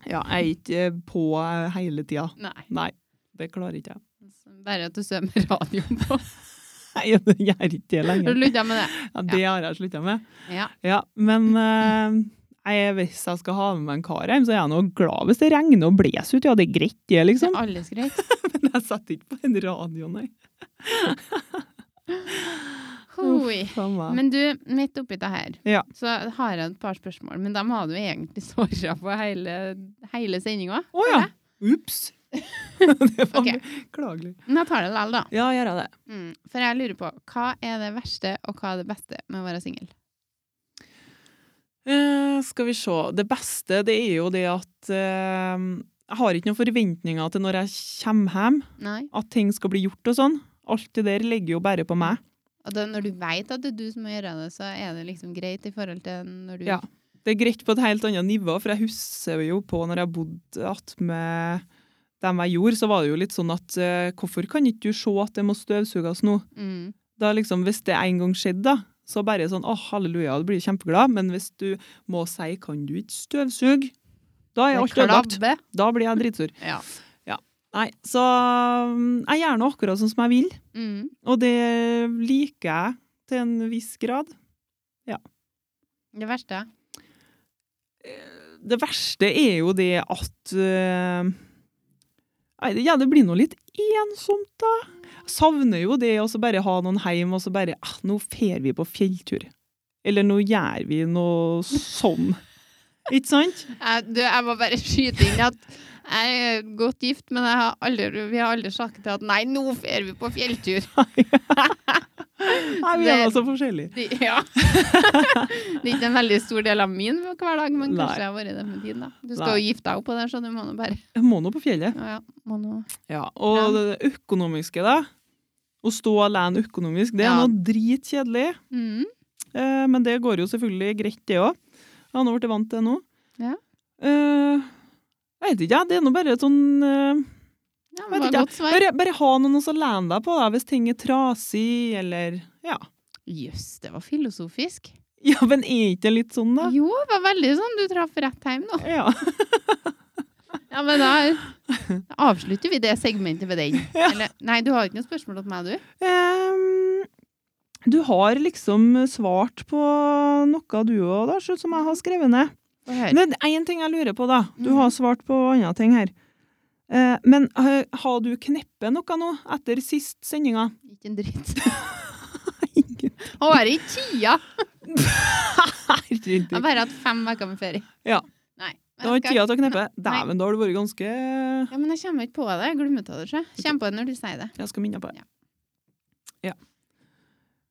Ja, jeg er ikke eh, på eh, hele tida.
Nei.
Nei, det klarer ikke jeg. [laughs]
Bare at du sover med radioen på.
Nei, jeg gjør ikke det
Har du
lenger.
ludda med det?
Ja, det har jeg slutta med.
Ja.
Ja, men eh, jeg, hvis jeg skal ha med meg en kar hjem, så er jeg nå glad hvis det regner og blåser ut. Ja, det er greit, det,
Det
liksom.
er alles greit.
Men [laughs] jeg setter ikke på en radio, nei.
Hoi.
Uff, faen meg.
Men du, midt oppi det her,
Ja.
så har jeg et par spørsmål. Men dem har du egentlig [laughs] svara på hele, hele sendinga.
Å ja! Ups! [laughs] det var
Ok.
beklagelig.
Men jeg tar det likevel, da.
Ja, gjør jeg det.
Mm. For jeg lurer på, hva er det verste og hva er det beste med å være singel?
Eh, skal vi se. Det beste det er jo det at eh, jeg har ikke noen forventninger til når jeg kommer hjem,
Nei.
at ting skal bli gjort og sånn. Alt det der ligger jo bare på meg.
Og da, når du veit at det er du som må gjøre det, så er det liksom greit i forhold til når du
Ja. Det er greit på et helt annet nivå, for jeg husker jo på når jeg bodde attmed dem jeg gjorde, så var det jo litt sånn at eh, hvorfor kan ikke du se at det må støvsuges nå?
mm.
Da liksom, Hvis det en gang skjedde, da, så bare sånn åh, halleluja, du blir kjempeglad, men hvis du må si kan du ikke støvsuge, da er
Det
alt ødelagt.
klabber.
Da blir jeg dritsur.
Ja.
Nei, så mm, jeg gjør nå akkurat sånn som jeg vil,
Mm.
og det liker jeg til en viss grad.
Det verste.
Det verste er jo det at eh, Nei, det- ja, det blir nå litt ensomt, da. Jeg savner jo det å så bare ha noen hjem, og så bare ah, Nå fer vi på fjelltur. Eller nå gjør vi noe sånn. Ikke sant?
Jeg, du, jeg må bare skyte inn at jeg er godt gift, men jeg har aldri, vi har aldri sagt til at nei, nå drar vi på fjelltur. [laughs]
Nei, vi er altså nå så forskjellige.
Det, ja. [laughs] det er ikke en veldig stor del av min hverdag, men
Nei.
kanskje jeg har vært det med din. da. Du skal
Nei.
jo gifte deg opp på det, så du må nå bare
Jeg må nå på fjellet.
ja, ja, må nå.
Ja, Og det økonomiske, da. Å stå alene økonomisk, det er
Ja.
nå dritkjedelig.
Mm.
Eh, men det går jo selvfølgelig greit, det òg. Jeg har nå blitt vant til det nå.
Ja.
Eh, jeg vet ikke, jeg. Det er nå bare et sånn eh,
Ja,
Vet
det var
ikke.
godt svar.
bare, bare ha noen å lene deg på, da, hvis ting er trasig, eller Ja. [laughs]
Jøss, det var filosofisk.
Ja, men er ikke det litt sånn, da?
Jo, det var veldig sånn. Du traff rett hjem nå.
Ja.
Ja, men [laughs] da avslutter vi det segmentet ved den. Eller, nei, du har ikke noe spørsmål til meg, du?
Ehm, du har liksom svart på noe du òg, da, så- som jeg har skrevet ned.
Få høre.
Men én ting jeg lurer på, da. Du
Mhm.
har svart på andre ting her. Eh, men eh, har du kneppet noe nå, etter sist sendinga?
Ikke en dritt.
Ingen
Har ikke tida. Jeg har
Herregud.
bare hatt fem uker med ferie.
Ja.
Nei. men
Det var
jeg skal-
tida til å kneppe.
Nei.
Dæven, da har du vært ganske
Ja, men jeg kommer ikke på det. Jeg glemmer det, tror jeg. Kommer på det når du sier det.
Jeg skal minne på det.
Ja.
Ja.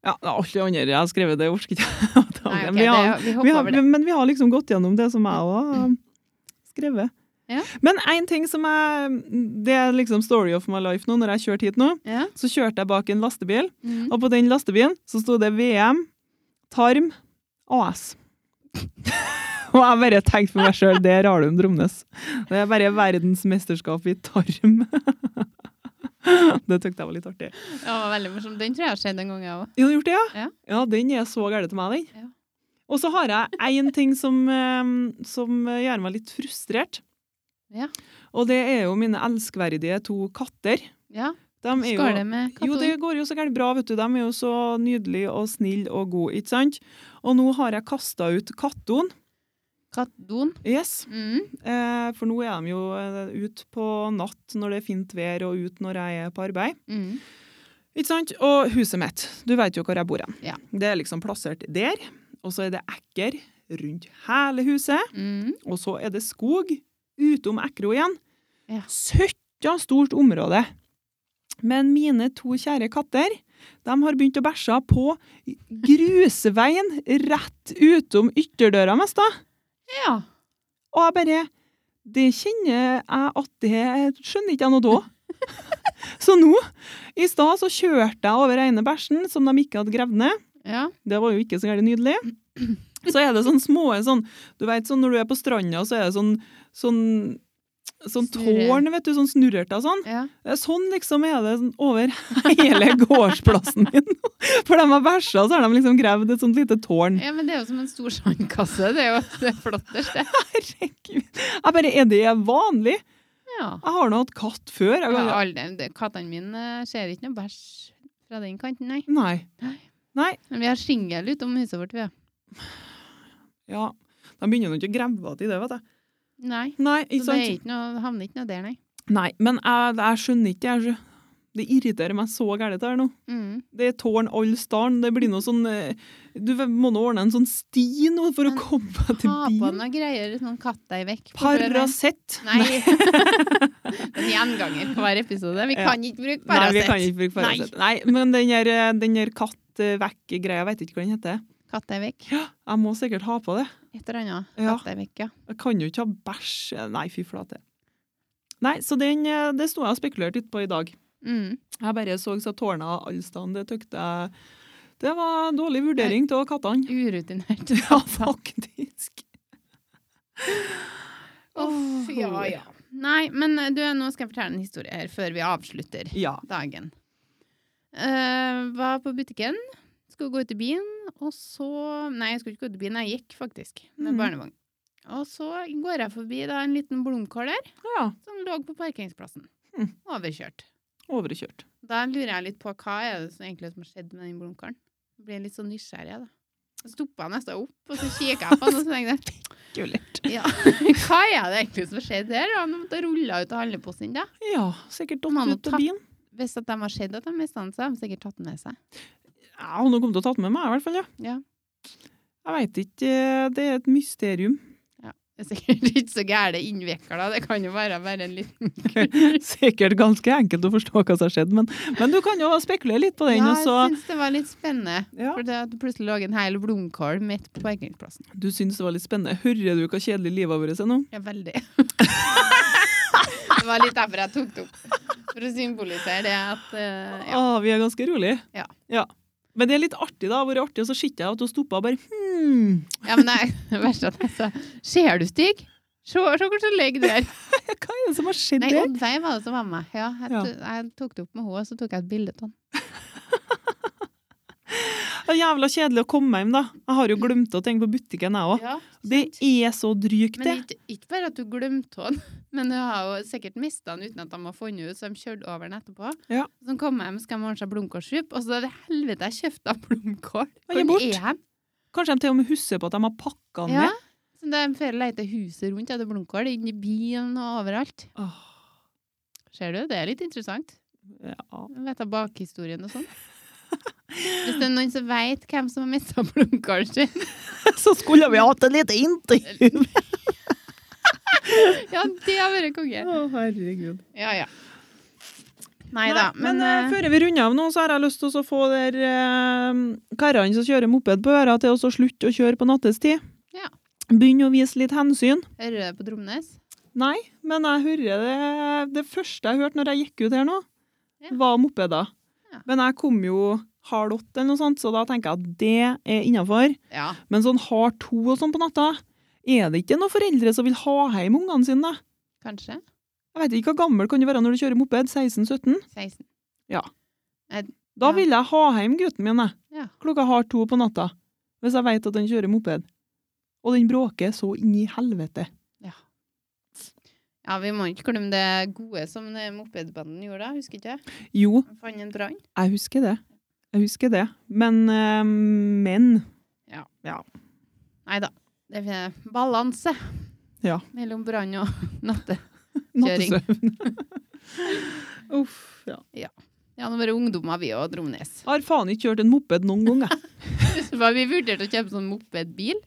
Ja, det er alt det andre jeg har skrevet, det orker ikke jeg å ta
Nei,
med.
ok,
Vi har-
det, vi
vi
hopper
har-
over det.
Men vi har liksom gått gjennom det som jeg òg har
Mm.
skrevet.
Ja.
Men én ting som jeg Det er liksom story of my life nå. Når jeg kjørte hit nå,
Ja.
så kjørte jeg bak en lastebil,
Mm.
og på den lastebilen så sto det VM, Tarm, AS. [laughs] og jeg bare tenkte for meg sjøl, der har du en Dromnes. Det er bare verdensmesterskap i tarm. [laughs] det syntes jeg var litt artig.
Det var veldig morsomt. Den tror jeg har skjedd en gang, jeg òg.
Ja, du har gjort det, ja?
Ja.
den er så gæren til meg, den.
Ja.
Og så har jeg én ting som, eh, som gjør meg litt frustrert.
Ja.
Og det er jo mine elskverdige to katter.
Ja.
De er jo,
Skål det med
jo, det
kattunger.
går jo så gærent bra, vet du. De er jo så nydelige og snille og gode, ikke sant? Og nå har jeg kasta ut kattoen.
Kattdon.
Yes.
Mm.
Eh, for nå er de jo eh, ut på natt når det er fint vær, og ut når jeg er på arbeid.
Mm.
Ikke sant? Og huset mitt. Du vet jo hvor jeg bor hen.
Ja.
Det er liksom plassert der, og så er det ekker rundt hele huset,
Mm.
og så er det skog utom Ekro igjen.
Ja.
Søtta stort område. Men mine to kjære katter, de har begynt å bæsje på grusveien rett utom ytterdøra mest da.
Ja.
Og jeg bare Det kjenner jeg at det skjønner ikke jeg noe
[laughs]
da. så nå, i stad, så kjørte jeg over ene bæsjen som de ikke hadde gravd ned.
Ja.
Det var jo ikke så gærent nydelig. Så er det sånne små sånn Du vet sånn når du er på stranda, så er det sånn sånn Sånn
Snurre.
tårn, vet du, sånn snurrete og sånn.
ja.
Det er Sånn liksom er det sånn over hele [laughs] gårdsplassen min. For de har bæsja, så har de liksom gravd et sånt lite tårn.
ja, men det er jo som en stor sandkasse. Det er jo det flotteste.
Herregud. Jeg bare Er det vanlig?
Ja.
Jeg har nå hatt katt før. Jeg
ja
kan,
alle, det- kattene mine eh, ser ikke noe bæsj fra den kanten, nei.
Nei.
Nei.
Nei.
Men vi har singel utom huset vårt, vi. ja.
Ja. De begynner jo ikke å grave til det, vet jeg.
Nei.
Nei,
Så
ikke
det er
sant?
ikke noe, havner ikke noe der, nei.
Nei, men jeg, jeg skjønner ikke. Jeg, skjø- det irriterer meg så gærent det her nå.
Mm.
Det er tårn all staden. Det blir noe sånn eh, Du må nå ordne en sånn sti nå for å
Men
komme deg til
Ha på
bilen.
noe greier, noen katter vekk. på forhånd.
Paracet.
[laughs] Nei. En gjenganger på hver episode. Vi
Ja.
kan ikke bruke
Nei, vi kan
Paracet.
ikke bruke
Nei.
Paracet. Nei, men den her, eh, den her katt-vekk-greia, jeg vet ikke hva den heter.
Katta er vekk.
Ja, jeg må sikkert ha på det.
Et eller annet.
Ja.
Katta er vekk, ja.
Jeg kan jo ikke ha bæsj Nei, fy flate. Nei, så den, eh, det sto jeg og spekulerte litt på i dag.
Mm.
Jeg bare så så tårna alle steder. Det tykte jeg Det var dårlig vurdering av kattene. [laughs]
Urutinert.
Ja, faktisk.
Uff, ja, ja. Nei, men eh, du, nå skal jeg fortelle en historie her før vi avslutter
Ja.
dagen. Eh, var på butikken, skulle gå ut i byen, og så Nei, jeg skulle ikke gå ut i byen, jeg gikk faktisk med
Mhm.
barnevogn. Og så går jeg forbi da, en liten blomkål der,
ja.
som lå på parkeringsplassen.
Mhm.
Overkjørt.
Overkjørt.
Da lurer jeg litt på hva er det som egentlig som har skjedd med den blomkålen. Jeg Blir litt sånn nysgjerrig, da. Så stoppa jeg nesten opp, og så kikker jeg på den, og så tenker jeg [laughs]
Gulert.
ja. Hva er det egentlig som har skjedd her? da? Han måtte rulle ut av handleposen da.
Ja, sikkert
Man har
datt ut
tatt-
av bilen.
Hvis at de har sett at de mista den, så har de sikkert tatt den med seg.
Ja, hun har kommet og tatt med meg, i hvert fall. ja.
Ja.
Jeg veit ikke. eh, Det er et mysterium. [laughs]
Det er sikkert [laughs] ikke så gærent innvikla, det kan jo være bare en liten
Sikkert ganske enkelt å forstå hva som har skjedd, men, men du kan jo spekulere litt på den.
Ja,
og
jeg
så...
syns det var litt spennende.
Ja.
For det at det plutselig lå en hel blomkål midt på parkeringsplassen.
Du syns det var litt spennende. Hører du hvor kjedelig livet vårt er nå?
Ja, veldig. [laughs] det var litt derfor jeg tok det opp. For å symbolisere det at eh, ja.
Ah, vi er ganske rolig.
Ja.
Men det er litt artig, da. Hvor artig, og så sitter jeg og at hun stopper og bare hmm,
ja, men nei, [laughs] det verste er at jeg sa Ser du, Stig? Se, se hvor som ligger
[laughs]
der.
Hva er det som har skjedd
Nei,
der?
Oddveig var det som var med. Ja, jeg,
Ja.
to- jeg tok det opp med henne, og så tok jeg et bilde av den.
Det er jævla kjedelig å komme hjem, da. Jeg har jo glemt å tenke på butikken, jeg òg. Det er så drygt, det.
Men ikke, ikke bare at du glemte den, [laughs] men du har jo sikkert mista den uten at de har funnet ut, så de kjørte over den etterpå.
Ja.
Så de kom hjem, skal de ordne seg blomkålsuppe, og så er det helvete jeg kjøpte av blomkål.
Og gi bort.
den?
Kanskje de til og med husker på at de har pakka den
Ja.
ned.
Så det er flere leter huset rundt etter blomkål, inn i bilen og overalt.
Åh,
Ser du, det er litt interessant.
ja. [laughs]
Jeg Vet jeg bakhistorien [laughs] og sånn. Hvis det er noen som veit hvem som har mista blomkålen sin [laughs]
Så skulle vi hatt et lite intervju!
Ja, det har vært konge.
Å, herregud.
Ja, ja. Nei da,
Nei,
men,
eh, før vi runder av nå, så har jeg lyst til å få der eh, karene som kjører moped på øra, til å så slutte å kjøre på nattestid.
Ja.
Begynn å vise litt hensyn.
eh, hører du det på Dromnes?
Nei, men jeg hører det Det første jeg hørte når jeg gikk ut her nå,
Ja.
var mopeder.
Ja.
Men jeg kom jo hard åtte eller noe sånt, så da tenker jeg at det er innafor.
Ja.
Men sånn hard to og sånn på natta, er det ikke noen foreldre som vil ha hjem ungene sine?
Kanskje?
Jeg vet ikke hvor gammel kan du være når du kjører moped? 16-17?
16.
Da
Ja.
vil jeg ha hjem gutten min, jeg.
Ja.
Klokka hard to på natta. Hvis jeg vet at han kjører moped. Og den bråker så inn i helvete.
Ja, vi må ikke glemme det gode som den mopedbanden gjorde da, husker ikke jeg?
Jo,
De fant en brann.
jeg husker det. Jeg husker det. Men eh, Men
Nei da. Det er eh, balanse
Ja.
mellom brann og [laughs] natte. Kjøring.
Nattesøvn.
[laughs]
Uff, ja.
Ja, nå var det ungdommer vi og [laughs] Dromnes.
Har faen ikke kjørt en moped noen gang, jeg.
Så var vi vurderte å kjøpe sånn mopedbil,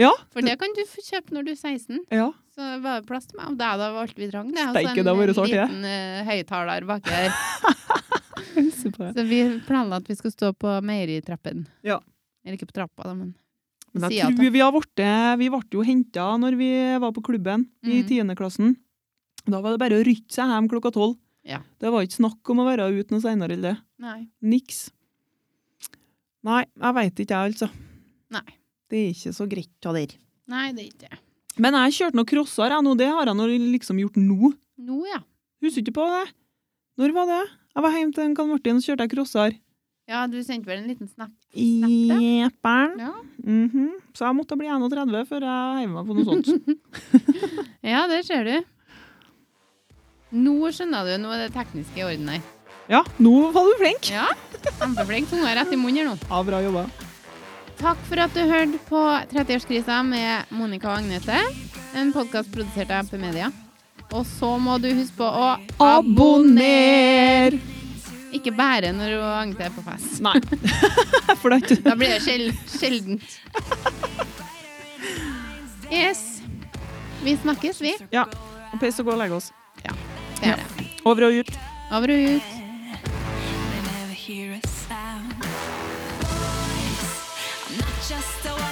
Ja.
for det kan du få kjøpe når du er 16.
ja.
Så var det plass til meg, og det er da alt vi trang. Det er altså
Steike, det
en
har vært så artig, det.
liten eh, høyttaler baki
[laughs]
der.
Jeg hilser på det.
Så vi planla at vi skal stå på meieritrappen.
Ja.
Eller ikke på trappa, da, men
Men
Sier
jeg
at
tror vi har vært Vi ble jo henta når vi var på klubben i
Mm.
tiendeklassen. Da var det bare å rykke seg hjem klokka tolv.
Ja.
Det var ikke snakk om å være ute noe seinere enn det.
Nei.
Niks. Nei, jeg veit ikke, jeg, altså.
Nei.
Det er ikke så greit av der.
Nei, det er ikke det.
Men jeg kjørte noen crosser, jeg nå. Det har jeg nå liksom gjort nå.
Nå, ja.
Husker ikke på det. Når var det? Jeg var hjemme til en Karl Martin, så kjørte jeg crosser.
Ja, du sendte vel en liten snap?
Jepper'n.
Ja.
Mhm. Så jeg måtte bli 31 før jeg heiv meg på noe sånt. [laughs]
Ja, der ser du. Nå skjønner du, nå er det tekniske i orden her.
Ja, nå var du flink!
Ja, kjempeflink. Tunga rett i munnen her nå.
Ja, bra jobba.
Takk for at du hørte på 30-årskrisa med Monica og Agnete. En podkast produsert av MP Media. Og så må du huske på å
Abonner!
Ikke bare når hun Agnete er på fest.
Nei, [laughs] for det er ikke
Da blir det sjel sjeldent. Yes. Vi snakkes, vi.
Ja. Piss og gå og legge oss.
Det er det.
Over og ut.
Over og ut.
They never hear a sound. Voice, I'm not just a one.